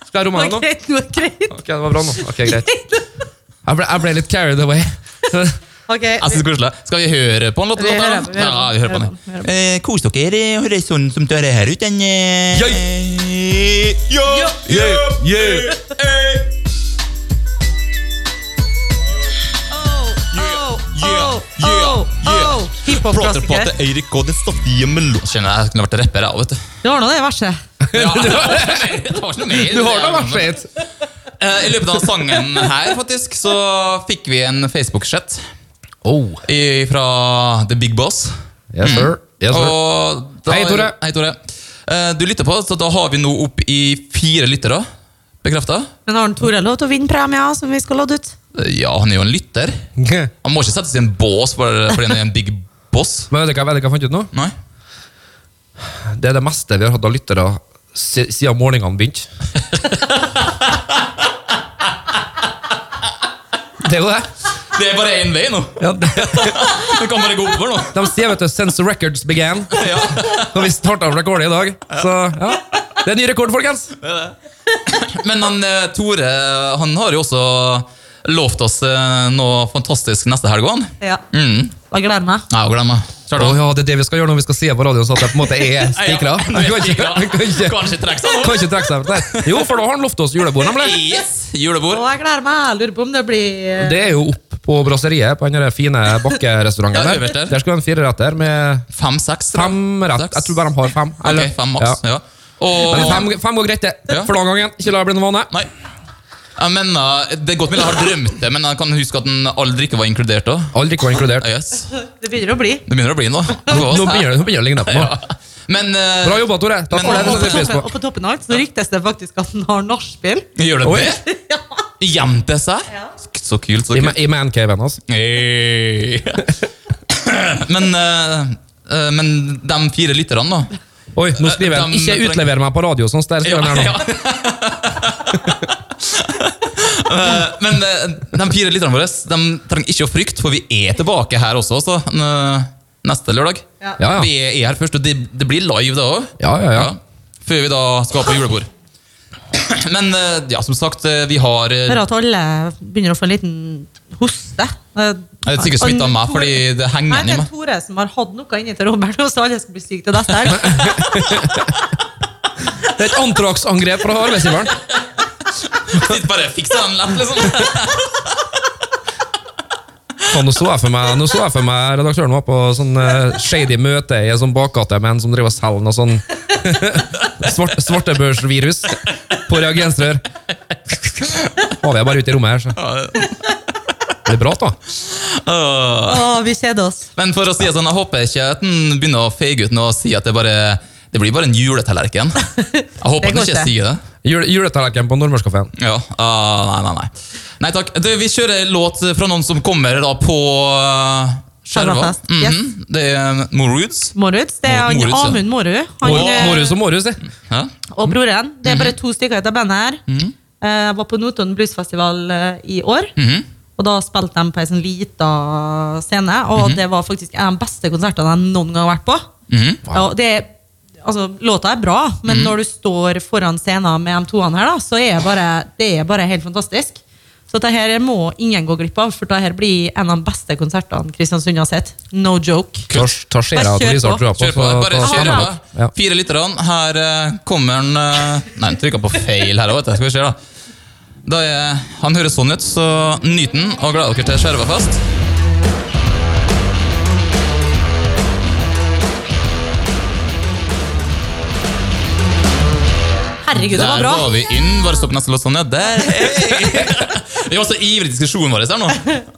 [SPEAKER 3] Skal jeg romme her nå?
[SPEAKER 4] Greit, nå er greit.
[SPEAKER 3] Ok, det var bra nå. Ok, greit. Jeg ble, jeg ble litt carried away.
[SPEAKER 4] Ok,
[SPEAKER 2] Jeg synes det er koselig. Skal vi høre på en låt?
[SPEAKER 4] Vi hører på, vi hører på.
[SPEAKER 2] Ja, vi hører på den.
[SPEAKER 4] Vi hører på,
[SPEAKER 2] Eh, Kos dere og hør sånn som dere her ute. den, eh.
[SPEAKER 3] Jøy!
[SPEAKER 2] Jøy!
[SPEAKER 3] Yeah, yeah.
[SPEAKER 4] oh,
[SPEAKER 2] Yeah,
[SPEAKER 4] oh,
[SPEAKER 2] yeah,
[SPEAKER 4] oh,
[SPEAKER 2] yeah.
[SPEAKER 4] oh.
[SPEAKER 2] Prater
[SPEAKER 4] Hiphop-klassiker.
[SPEAKER 2] på til Eirik og det saftige melon... Kjenner jeg jeg kunne vært rapper, jeg, vet du.
[SPEAKER 4] Det var nå det verset.
[SPEAKER 2] Ja. Det var ikke noe mer.
[SPEAKER 3] Du har da vært feit.
[SPEAKER 2] Eh, I løpet av sangen her, faktisk, så fikk vi en Facebook-chat
[SPEAKER 3] Oh,
[SPEAKER 2] i- fra The Big Boss.
[SPEAKER 3] yes sir. Yes, sir.
[SPEAKER 2] Og da,
[SPEAKER 3] Hei, Tore.
[SPEAKER 2] Hei, Tore. Eh, Du lytter på, så da har vi nå opp i fire lyttere. Bekrefta?
[SPEAKER 4] Men har den Tore lov til å vinne premia som vi skal lodde ut?
[SPEAKER 2] Ja, han er jo en lytter. Han må ikke settes i en bås bare fordi han er en big boss.
[SPEAKER 3] Men vet dere hva vet dere hva jeg fant ut nå?
[SPEAKER 2] Nei?
[SPEAKER 3] Det er det meste vi har hatt av lyttere si- siden morgenene begynte. Det er jo det.
[SPEAKER 2] Det er bare én vei nå.
[SPEAKER 3] Ja, det.
[SPEAKER 2] Det kan bare gå oppover nå.
[SPEAKER 3] De sier, vet du, since records began.
[SPEAKER 2] Ja.
[SPEAKER 3] Og vi starta rekordet i dag. Så ja, det er ny rekord, folkens.
[SPEAKER 2] Men han, eh, Tore han har jo også lovt oss eh, noe fantastisk neste helg. han.
[SPEAKER 4] Ja.
[SPEAKER 2] Mm.
[SPEAKER 4] Jeg gleder meg.
[SPEAKER 2] Nei, glem det.
[SPEAKER 3] Å
[SPEAKER 2] Kjør da.
[SPEAKER 3] ja, det er det vi skal gjøre når vi skal si på radioen, så at det på en måte er spikra.
[SPEAKER 2] Ja, nå er jeg spikra. Kan ikke trekke seg nå.
[SPEAKER 3] Kan ikke trekke seg Nei. Jo, for da har han lovt oss julebord, nemlig.
[SPEAKER 2] Yes, julebord.
[SPEAKER 4] Og jeg gleder meg. Jeg lurer på om det blir eh,
[SPEAKER 3] Det er jo opp på brasseriet på den der fine bakkerestauranten
[SPEAKER 2] Ja,
[SPEAKER 3] der.
[SPEAKER 2] øverst der.
[SPEAKER 3] Der skal vi ha en fireretter med
[SPEAKER 2] Fem-seks?
[SPEAKER 3] fem rett. Jeg tror bare de har fem. eller-
[SPEAKER 2] Ok, fem maks.
[SPEAKER 3] Ja.
[SPEAKER 2] Ja. Og,
[SPEAKER 3] Men fem, fem går greit, det.
[SPEAKER 2] Ja.
[SPEAKER 3] For den gangen. Ikke la det bli noe vane.
[SPEAKER 2] Nei. Jeg mener, det er godt mulig jeg har drømt det, men jeg kan huske at den all drikke var inkludert òg.
[SPEAKER 3] All drikke var inkludert.
[SPEAKER 2] Yes.
[SPEAKER 4] Det begynner å bli.
[SPEAKER 2] Det begynner å bli noe.
[SPEAKER 3] Nå begynner det nå begynner det å ligne på noe.
[SPEAKER 2] Men eh,
[SPEAKER 3] Bra jobba, Tore. Takk
[SPEAKER 2] Men-
[SPEAKER 3] for det. det
[SPEAKER 4] Og på
[SPEAKER 3] setter vi pris
[SPEAKER 4] toppen,
[SPEAKER 3] på.
[SPEAKER 4] og på toppen av alt så ryktes det faktisk at han har nachspiel.
[SPEAKER 2] Gjør det
[SPEAKER 3] Oi.
[SPEAKER 2] det? Gjemt det seg?
[SPEAKER 4] Ja.
[SPEAKER 2] Så kult. så kult.
[SPEAKER 3] I, ma- i altså. mancaven hans.
[SPEAKER 2] Hey. men, eh, eh, men de fire lytterne, da?
[SPEAKER 3] Oi, nå skriver han
[SPEAKER 2] De-
[SPEAKER 3] 'ikke utlever meg på radio'. sånn der skriver han her nå.
[SPEAKER 2] Eh, men eh, de fire lytterne våre de trenger ikke å frykte, for vi er tilbake her også så, eh, neste lørdag.
[SPEAKER 3] Ja, ja.
[SPEAKER 2] Vi er her først, og det, det blir live, det òg.
[SPEAKER 3] Ja, ja, ja.
[SPEAKER 2] Før vi da skal på julebord. Men eh, ja, som sagt, eh, vi har eh,
[SPEAKER 4] Hører at alle begynner å få en liten hoste.
[SPEAKER 2] Jeg er sikkert smittet av meg, fordi det henger
[SPEAKER 4] Nei,
[SPEAKER 2] igjen i
[SPEAKER 4] det er
[SPEAKER 2] meg.
[SPEAKER 4] Tore som har hatt noe inni til Robert, og så alle skal bli syke til neste helg.
[SPEAKER 3] Det er et antrax-angrep fra arbeidsgiveren.
[SPEAKER 2] Bare fikse den lett, liksom.
[SPEAKER 3] Faen, Sånn, Nå så jeg for meg, nå så jeg for meg redaktøren var på sånn eh, shady møte i en sånn bakgate med en som driver og selger noe sånn svart, svartebørsvirus på reagensrør. Har vi er bare ute i rommet her, så. Det er bra, da.
[SPEAKER 2] Åh.
[SPEAKER 4] Å, vi kjeder oss.
[SPEAKER 2] Men for å si det sånn, jeg håper ikke at den begynner å feige ut nå og si at det bare det blir bare en juletallerken. Jeg håper
[SPEAKER 4] Det
[SPEAKER 2] han
[SPEAKER 4] går
[SPEAKER 2] ikke
[SPEAKER 4] ikke.
[SPEAKER 2] sier det.
[SPEAKER 3] Jule, Juletallerken på Nordmørskafeen.
[SPEAKER 2] Ja, ah, Nei, nei, nei. Nei takk. Du, vi kjører en låt fra noen som kommer da på uh, Skjerva.
[SPEAKER 4] Skjervafest,
[SPEAKER 2] Mhm.
[SPEAKER 4] yes.
[SPEAKER 2] Det er Moroods.
[SPEAKER 4] Moruds, det er han
[SPEAKER 2] Moruds, ja.
[SPEAKER 4] Amund Morud. Han, eh,
[SPEAKER 3] Morhus og Morhus, si.
[SPEAKER 2] Ja.
[SPEAKER 4] og broren.
[SPEAKER 2] Mhm.
[SPEAKER 4] Det er bare to stykker ut av bandet her. Eh, Jeg var på Notodden Bluesfestival eh, i år.
[SPEAKER 2] Mhm.
[SPEAKER 4] Og da spilte de på en sånn lita scene, og det var faktisk en av de beste konsertene jeg noen gang har vært på.
[SPEAKER 2] Mhm.
[SPEAKER 4] Og det, altså, låta er bra, men når du står foran scenen med de toene her, da, så er bare, det er bare helt fantastisk. Så dette her må ingen gå glipp av, for dette her blir en av de beste konsertene Kristiansund har sett. No joke.
[SPEAKER 3] Ta- Ta skjera
[SPEAKER 4] Bare
[SPEAKER 3] og
[SPEAKER 4] kjør
[SPEAKER 3] Lisa
[SPEAKER 4] på.
[SPEAKER 3] trua på.
[SPEAKER 2] Kjør på.
[SPEAKER 3] så-
[SPEAKER 2] Bare
[SPEAKER 3] så-
[SPEAKER 2] kjør
[SPEAKER 4] Ja.
[SPEAKER 2] på.
[SPEAKER 3] Ja.
[SPEAKER 2] Fire lytterne. Her eh, kommer han eh, Nei, han trykka på feil her òg, vet du. Skal vi se, da. da er, han høres sånn ut, så nyt den, og gleder dere til Skjervafest.
[SPEAKER 4] Herregud, det var
[SPEAKER 2] Der
[SPEAKER 4] bra!
[SPEAKER 2] var vi inn. Bare stopp neste låt. Sånn, ja. Der, hey. Vi var så ivrig i diskusjonen vår her nå.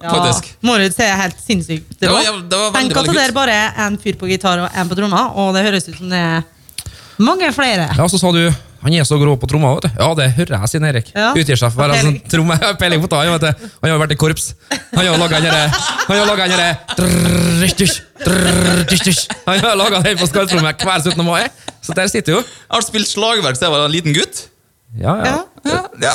[SPEAKER 2] Faktisk.
[SPEAKER 4] Morud ser helt sinnssykt
[SPEAKER 2] Det
[SPEAKER 4] rå.
[SPEAKER 2] var jæv- det var veldig,
[SPEAKER 4] Tenk at
[SPEAKER 2] veldig
[SPEAKER 4] det
[SPEAKER 2] kult.
[SPEAKER 4] er bare en fyr på gitar og en på trommer, og det høres ut som det er mange flere.
[SPEAKER 3] Ja, så sa du han er så grå på tromma. vet du. Ja, det hører jeg, sin Erik.
[SPEAKER 4] Ja.
[SPEAKER 3] Utgir seg for å være en sånn
[SPEAKER 4] Peiling.
[SPEAKER 3] tromme. Jeg har Peiling på taien, vet du. Han har jo vært i korps. Han har jo laga den derre Han har laget den derre drrrrrrrrrrrrrrrrrrrrrrrrrrrrrrrrrrrrrrrrrrrrrrrrrrrrrrrrrrrrrrrrrrr. Han har laget den på skarptrommet hver 17. mai, så der sitter jo.
[SPEAKER 2] Jeg har spilt slagverk siden jeg var en liten gutt.
[SPEAKER 3] Ja, ja.
[SPEAKER 4] Ja.
[SPEAKER 2] Ja,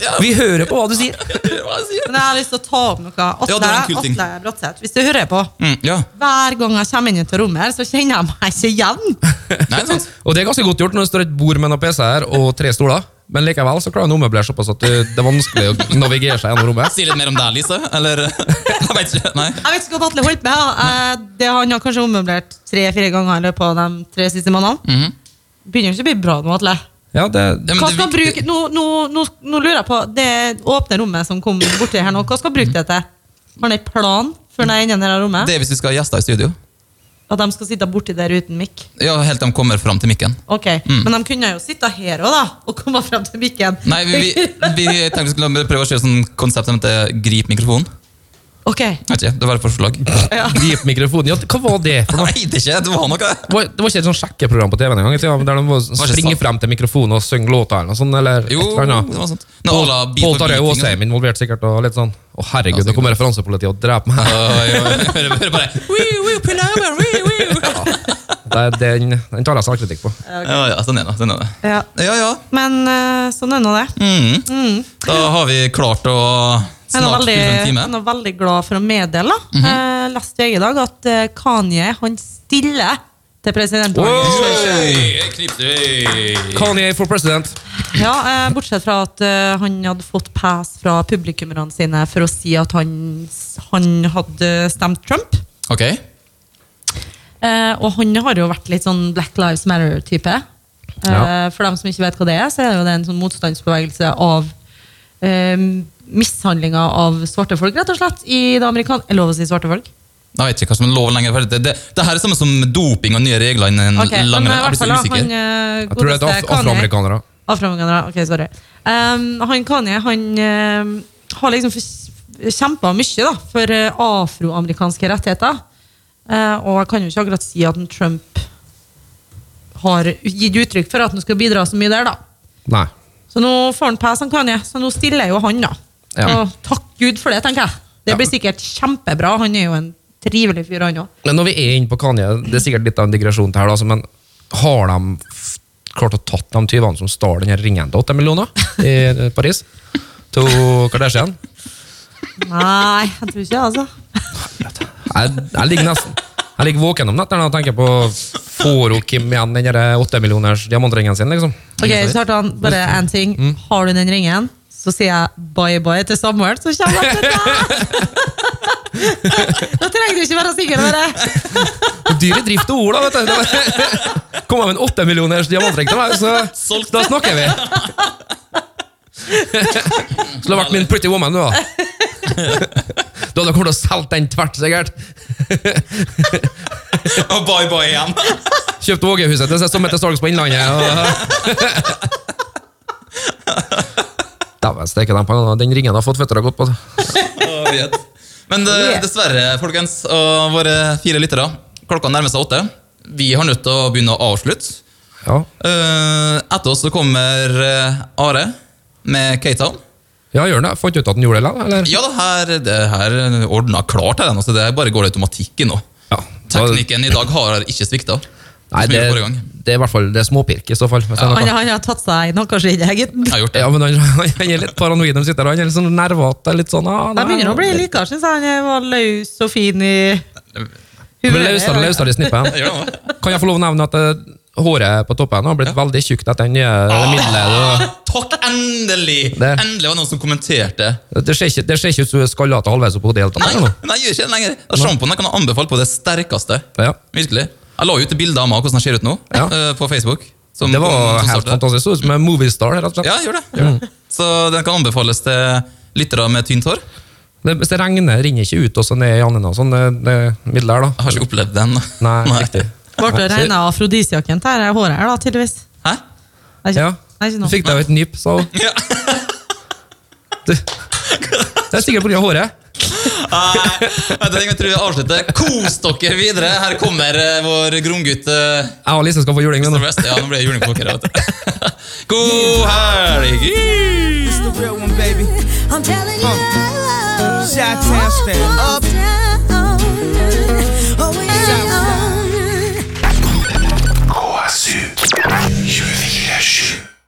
[SPEAKER 2] ja.
[SPEAKER 3] Vi hører på hva du sier.
[SPEAKER 2] Hva jeg sier?
[SPEAKER 4] Men jeg har lyst til å ta opp noe.
[SPEAKER 2] Ja,
[SPEAKER 4] Atle,
[SPEAKER 2] det var en kul ting.
[SPEAKER 4] Atle Bratseth, hvis du hører på.
[SPEAKER 2] Mm, ja.
[SPEAKER 4] Hver gang jeg kommer inn til rommet her, så kjenner jeg meg ikke igjen.
[SPEAKER 2] Nei, sant.
[SPEAKER 3] Og det er ganske godt gjort når det står et bord med noen PC her og tre stoler, men likevel så klarer han å ommøblere såpass at uh, det er vanskelig å navigere seg gjennom rommet.
[SPEAKER 2] Si litt mer om deg, Lise. Eller Jeg vet ikke. Nei.
[SPEAKER 4] Jeg vet ikke hva Atle holdt med. ja. Eh, Det har han har kanskje ommøblert tre-fire ganger i løpet av de tre siste månedene.
[SPEAKER 2] Mhm.
[SPEAKER 4] Begynner jo ikke å bli bra nå, Atle.
[SPEAKER 3] Ja, det,
[SPEAKER 2] Ja, men
[SPEAKER 4] Hva
[SPEAKER 2] det er
[SPEAKER 4] skal han
[SPEAKER 2] viktig.
[SPEAKER 4] bruke, nå, nå, nå, nå lurer jeg på det åpne rommet som kom borti her nå. Hva skal han bruke det til? Har han en plan for den enden av rommet?
[SPEAKER 2] Det er hvis vi skal ha gjester i studio.
[SPEAKER 4] At de skal sitte borti der uten mikk?
[SPEAKER 2] Ja, Helt til de kommer fram til mikken.
[SPEAKER 4] Ok, Men de kunne jo sitte her òg, da. Og komme frem til mikken.
[SPEAKER 2] Mm. Nei, vi, vi, vi tenkte vi skulle prøve å kjøre sånn konsept som heter 'grip mikrofonen'.
[SPEAKER 4] Ok,
[SPEAKER 2] Vet ikke, det var et forslag.
[SPEAKER 4] ja.
[SPEAKER 3] Grip mikrofonen. Ja, hva var det for noe?
[SPEAKER 2] Nei, det er ikke, det var noe.
[SPEAKER 3] Det var, det var ikke et sånn sjekkeprogram på TV-en engang? i tida, Der de var
[SPEAKER 2] ikke
[SPEAKER 3] springer
[SPEAKER 2] sant.
[SPEAKER 3] frem til mikrofonen og synger låter eller noe sånt? Eller
[SPEAKER 2] Jo,
[SPEAKER 3] et eller annet.
[SPEAKER 2] det var sånt. Nå, alla, beat
[SPEAKER 3] Pål
[SPEAKER 2] for
[SPEAKER 3] Tarjei
[SPEAKER 2] beating,
[SPEAKER 3] Aasheim involvert sikkert. og litt sånn. Å herregud,
[SPEAKER 2] Ja,
[SPEAKER 3] nå kommer referansepolitiet og dreper meg.
[SPEAKER 2] Oi, oi, Hører hører bare «Wii, wii, pull over, wii, wii».
[SPEAKER 3] Det er den, den tar jeg selvkritikk på.
[SPEAKER 2] Ja, ja, sånn er det. Sånn er det.
[SPEAKER 4] ja.
[SPEAKER 2] Ja, ja.
[SPEAKER 4] Men eh, sånn er nå det.
[SPEAKER 2] Mm. Da har vi klart å
[SPEAKER 4] Jeg er nå
[SPEAKER 2] snart
[SPEAKER 4] veldig,
[SPEAKER 2] fylle en
[SPEAKER 4] jeg
[SPEAKER 2] time. Mhm.
[SPEAKER 4] er nå veldig glad for å meddele. da. Eh, Leste VG i dag at eh, Kanye han stiller til presidentvalget.
[SPEAKER 2] Oi, knipser.
[SPEAKER 3] Kanye for president.
[SPEAKER 4] Ja, eh, Bortsett fra at eh, han hadde fått pass fra publikummerne sine for å si at han, han hadde stemt Trump.
[SPEAKER 2] Ok.
[SPEAKER 4] Eh, og han har jo vært litt sånn Black Lives Matter-type. Eh,
[SPEAKER 3] Ja.
[SPEAKER 4] For dem som ikke vet hva det er, så er det jo det en sånn motstandsbevegelse av eh, mishandlinga av svarte folk, rett og slett, i det amerikanske Er lov å si svarte folk?
[SPEAKER 2] Jeg vet ikke hva som er lov lenger. for Det, det, det her er samme som doping og nye regler
[SPEAKER 3] Mm,
[SPEAKER 2] innen
[SPEAKER 4] Ok, men
[SPEAKER 2] langrenn.
[SPEAKER 4] i
[SPEAKER 2] Jeg blir
[SPEAKER 4] hvert fall,
[SPEAKER 2] så
[SPEAKER 4] da,
[SPEAKER 2] usikker.
[SPEAKER 4] han, eh,
[SPEAKER 3] Jeg tror det er et
[SPEAKER 4] godeste
[SPEAKER 3] af
[SPEAKER 4] Kanye-
[SPEAKER 3] afroamerikanere.
[SPEAKER 4] Afroamerikanere, ok, sorry. Ehm, han Kanye, han ehm, har liksom kjempa mye da, for eh, afroamerikanske eh, rettigheter. Eh, og jeg kan jo ikke akkurat si at en Trump har gitt uttrykk for at han skal bidra så mye der, da.
[SPEAKER 3] Nei.
[SPEAKER 4] Så nå får han pass, han Kanye, så nå stiller jo han, da.
[SPEAKER 3] Ja.
[SPEAKER 4] Og takk Gud for det, tenker jeg. Det
[SPEAKER 3] Ja.
[SPEAKER 4] blir sikkert kjempebra. Han er jo en trivelig fyr, han òg.
[SPEAKER 3] Men når vi er inne på Kanye, det er sikkert litt av en digresjon til her, da, altså, men har de f- klart å tatt de tyvene som stjal den her ringen til 8 millioner i eh, Paris? Til Kardashian?
[SPEAKER 4] Nei, jeg tror ikke det, altså.
[SPEAKER 3] Jeg, jeg ligger nesten jeg ligger våken om nettene og tenker på Får hun Kim igjen den der 8 millioners diamantringen sin, liksom?
[SPEAKER 4] Ok, Kjartan, bare én ting.
[SPEAKER 3] Mm.
[SPEAKER 4] Har du den ringen, så sier jeg bye bye til Samuel, så kommer jeg til deg! Da trenger du ikke være sikker på det.
[SPEAKER 3] Dyr i drift og ord, da, vet du. Det var- Kom jeg med en 8 millioners diamantring til meg, så
[SPEAKER 2] Solgt.
[SPEAKER 3] da snakker vi. Så det har vært min pretty woman, du, da. Du hadde kommet til å selge den tvert, sikkert.
[SPEAKER 2] Og bye bye igjen.
[SPEAKER 3] Kjøpt Ågehuset til seg som heter Salgs på Innlandet. Og... Dæven steike, den pengene- den ringen jeg har fått føtter har gått på.
[SPEAKER 2] Å, vet. Men det, dessverre, folkens, og våre fire lyttere, klokka nærmer seg åtte. Vi har nødt til å begynne å avslutte.
[SPEAKER 3] Ja,
[SPEAKER 2] Eh, etter oss så kommer eh, Are med K-Town.
[SPEAKER 3] ja gjør den det. Fant du ut at den gjorde det, eller?
[SPEAKER 2] Ja, det her, det her ordna klart her, altså, det her bare går automatikk i nå.
[SPEAKER 3] Ja.
[SPEAKER 2] Teknikken i dag har ikke svikta.
[SPEAKER 3] Nei, det, det er i hvert fall det er småpirk, i så fall. hvis det er noe.
[SPEAKER 4] Han, han har tatt seg noe, kanskje ikke, gutten.
[SPEAKER 2] Jeg har gjort det.
[SPEAKER 3] Ja, men han, han er litt paranoid når han sitter der. Han er litt sånn nervete. Litt sånn, ah,
[SPEAKER 4] Jeg begynner å bli likere, syns jeg. Han var løs og fin i
[SPEAKER 3] Men Løsere løsere i snippet.
[SPEAKER 2] Jeg gjør det nå.
[SPEAKER 3] Kan jeg få lov å nevne at eh, håret på toppen har blitt veldig tjukt etter den nye det middelet?
[SPEAKER 2] Ah, takk, endelig!
[SPEAKER 3] Der.
[SPEAKER 2] Endelig var det noen som kommenterte.
[SPEAKER 3] Det, det, ser ikke, det ser ikke ut som du er skallete halvveis opp på hodet.
[SPEAKER 2] Nei, nei, jeg gjør ikke det lenger. Sjampoen kan jeg anbefale på det sterkeste.
[SPEAKER 3] Ja.
[SPEAKER 2] Virkelig. Jeg la ut et bilde av meg hvordan jeg ser ut nå,
[SPEAKER 3] Ja.
[SPEAKER 2] eh, på Facebook. som
[SPEAKER 3] Det
[SPEAKER 2] kom-
[SPEAKER 3] var
[SPEAKER 2] som startet.
[SPEAKER 3] helt fantastisk. Mm. Så ut som en moviestar. rett og slett.
[SPEAKER 2] Ja, gjør det. Gjør det. Så den kan anbefales til lyttere med tynt hår.
[SPEAKER 3] Det, hvis det regner, renner ikke ut og så ned i andene og sånn. Det, det middelet her,
[SPEAKER 2] Jeg
[SPEAKER 3] da.
[SPEAKER 2] har ikke opplevd den.
[SPEAKER 3] Nei, riktig.
[SPEAKER 4] Ble det regna afrodisiakken til dette håret her, da, tydeligvis?
[SPEAKER 2] Hæ?
[SPEAKER 4] Nei, ikke,
[SPEAKER 3] Ja.
[SPEAKER 4] nei, ikke
[SPEAKER 3] Du
[SPEAKER 4] nå.
[SPEAKER 3] fikk deg jo et nyp, sa hun.
[SPEAKER 2] Ja.
[SPEAKER 3] Du- Det er sikkert pga. håret.
[SPEAKER 2] Nei, vet du, jeg tror jeg avslutter. Kos dere videre. Her kommer eh, vår gromgutt. eh,
[SPEAKER 3] Jeg og Lise skal få juling. nå.
[SPEAKER 2] Mr. West. Ja, nå ble det juling på dere. vet du. God helg!
[SPEAKER 5] It's the real one, baby.
[SPEAKER 6] I'm telling you.
[SPEAKER 5] Huh.
[SPEAKER 6] Huh.
[SPEAKER 5] Chi-Town stand up.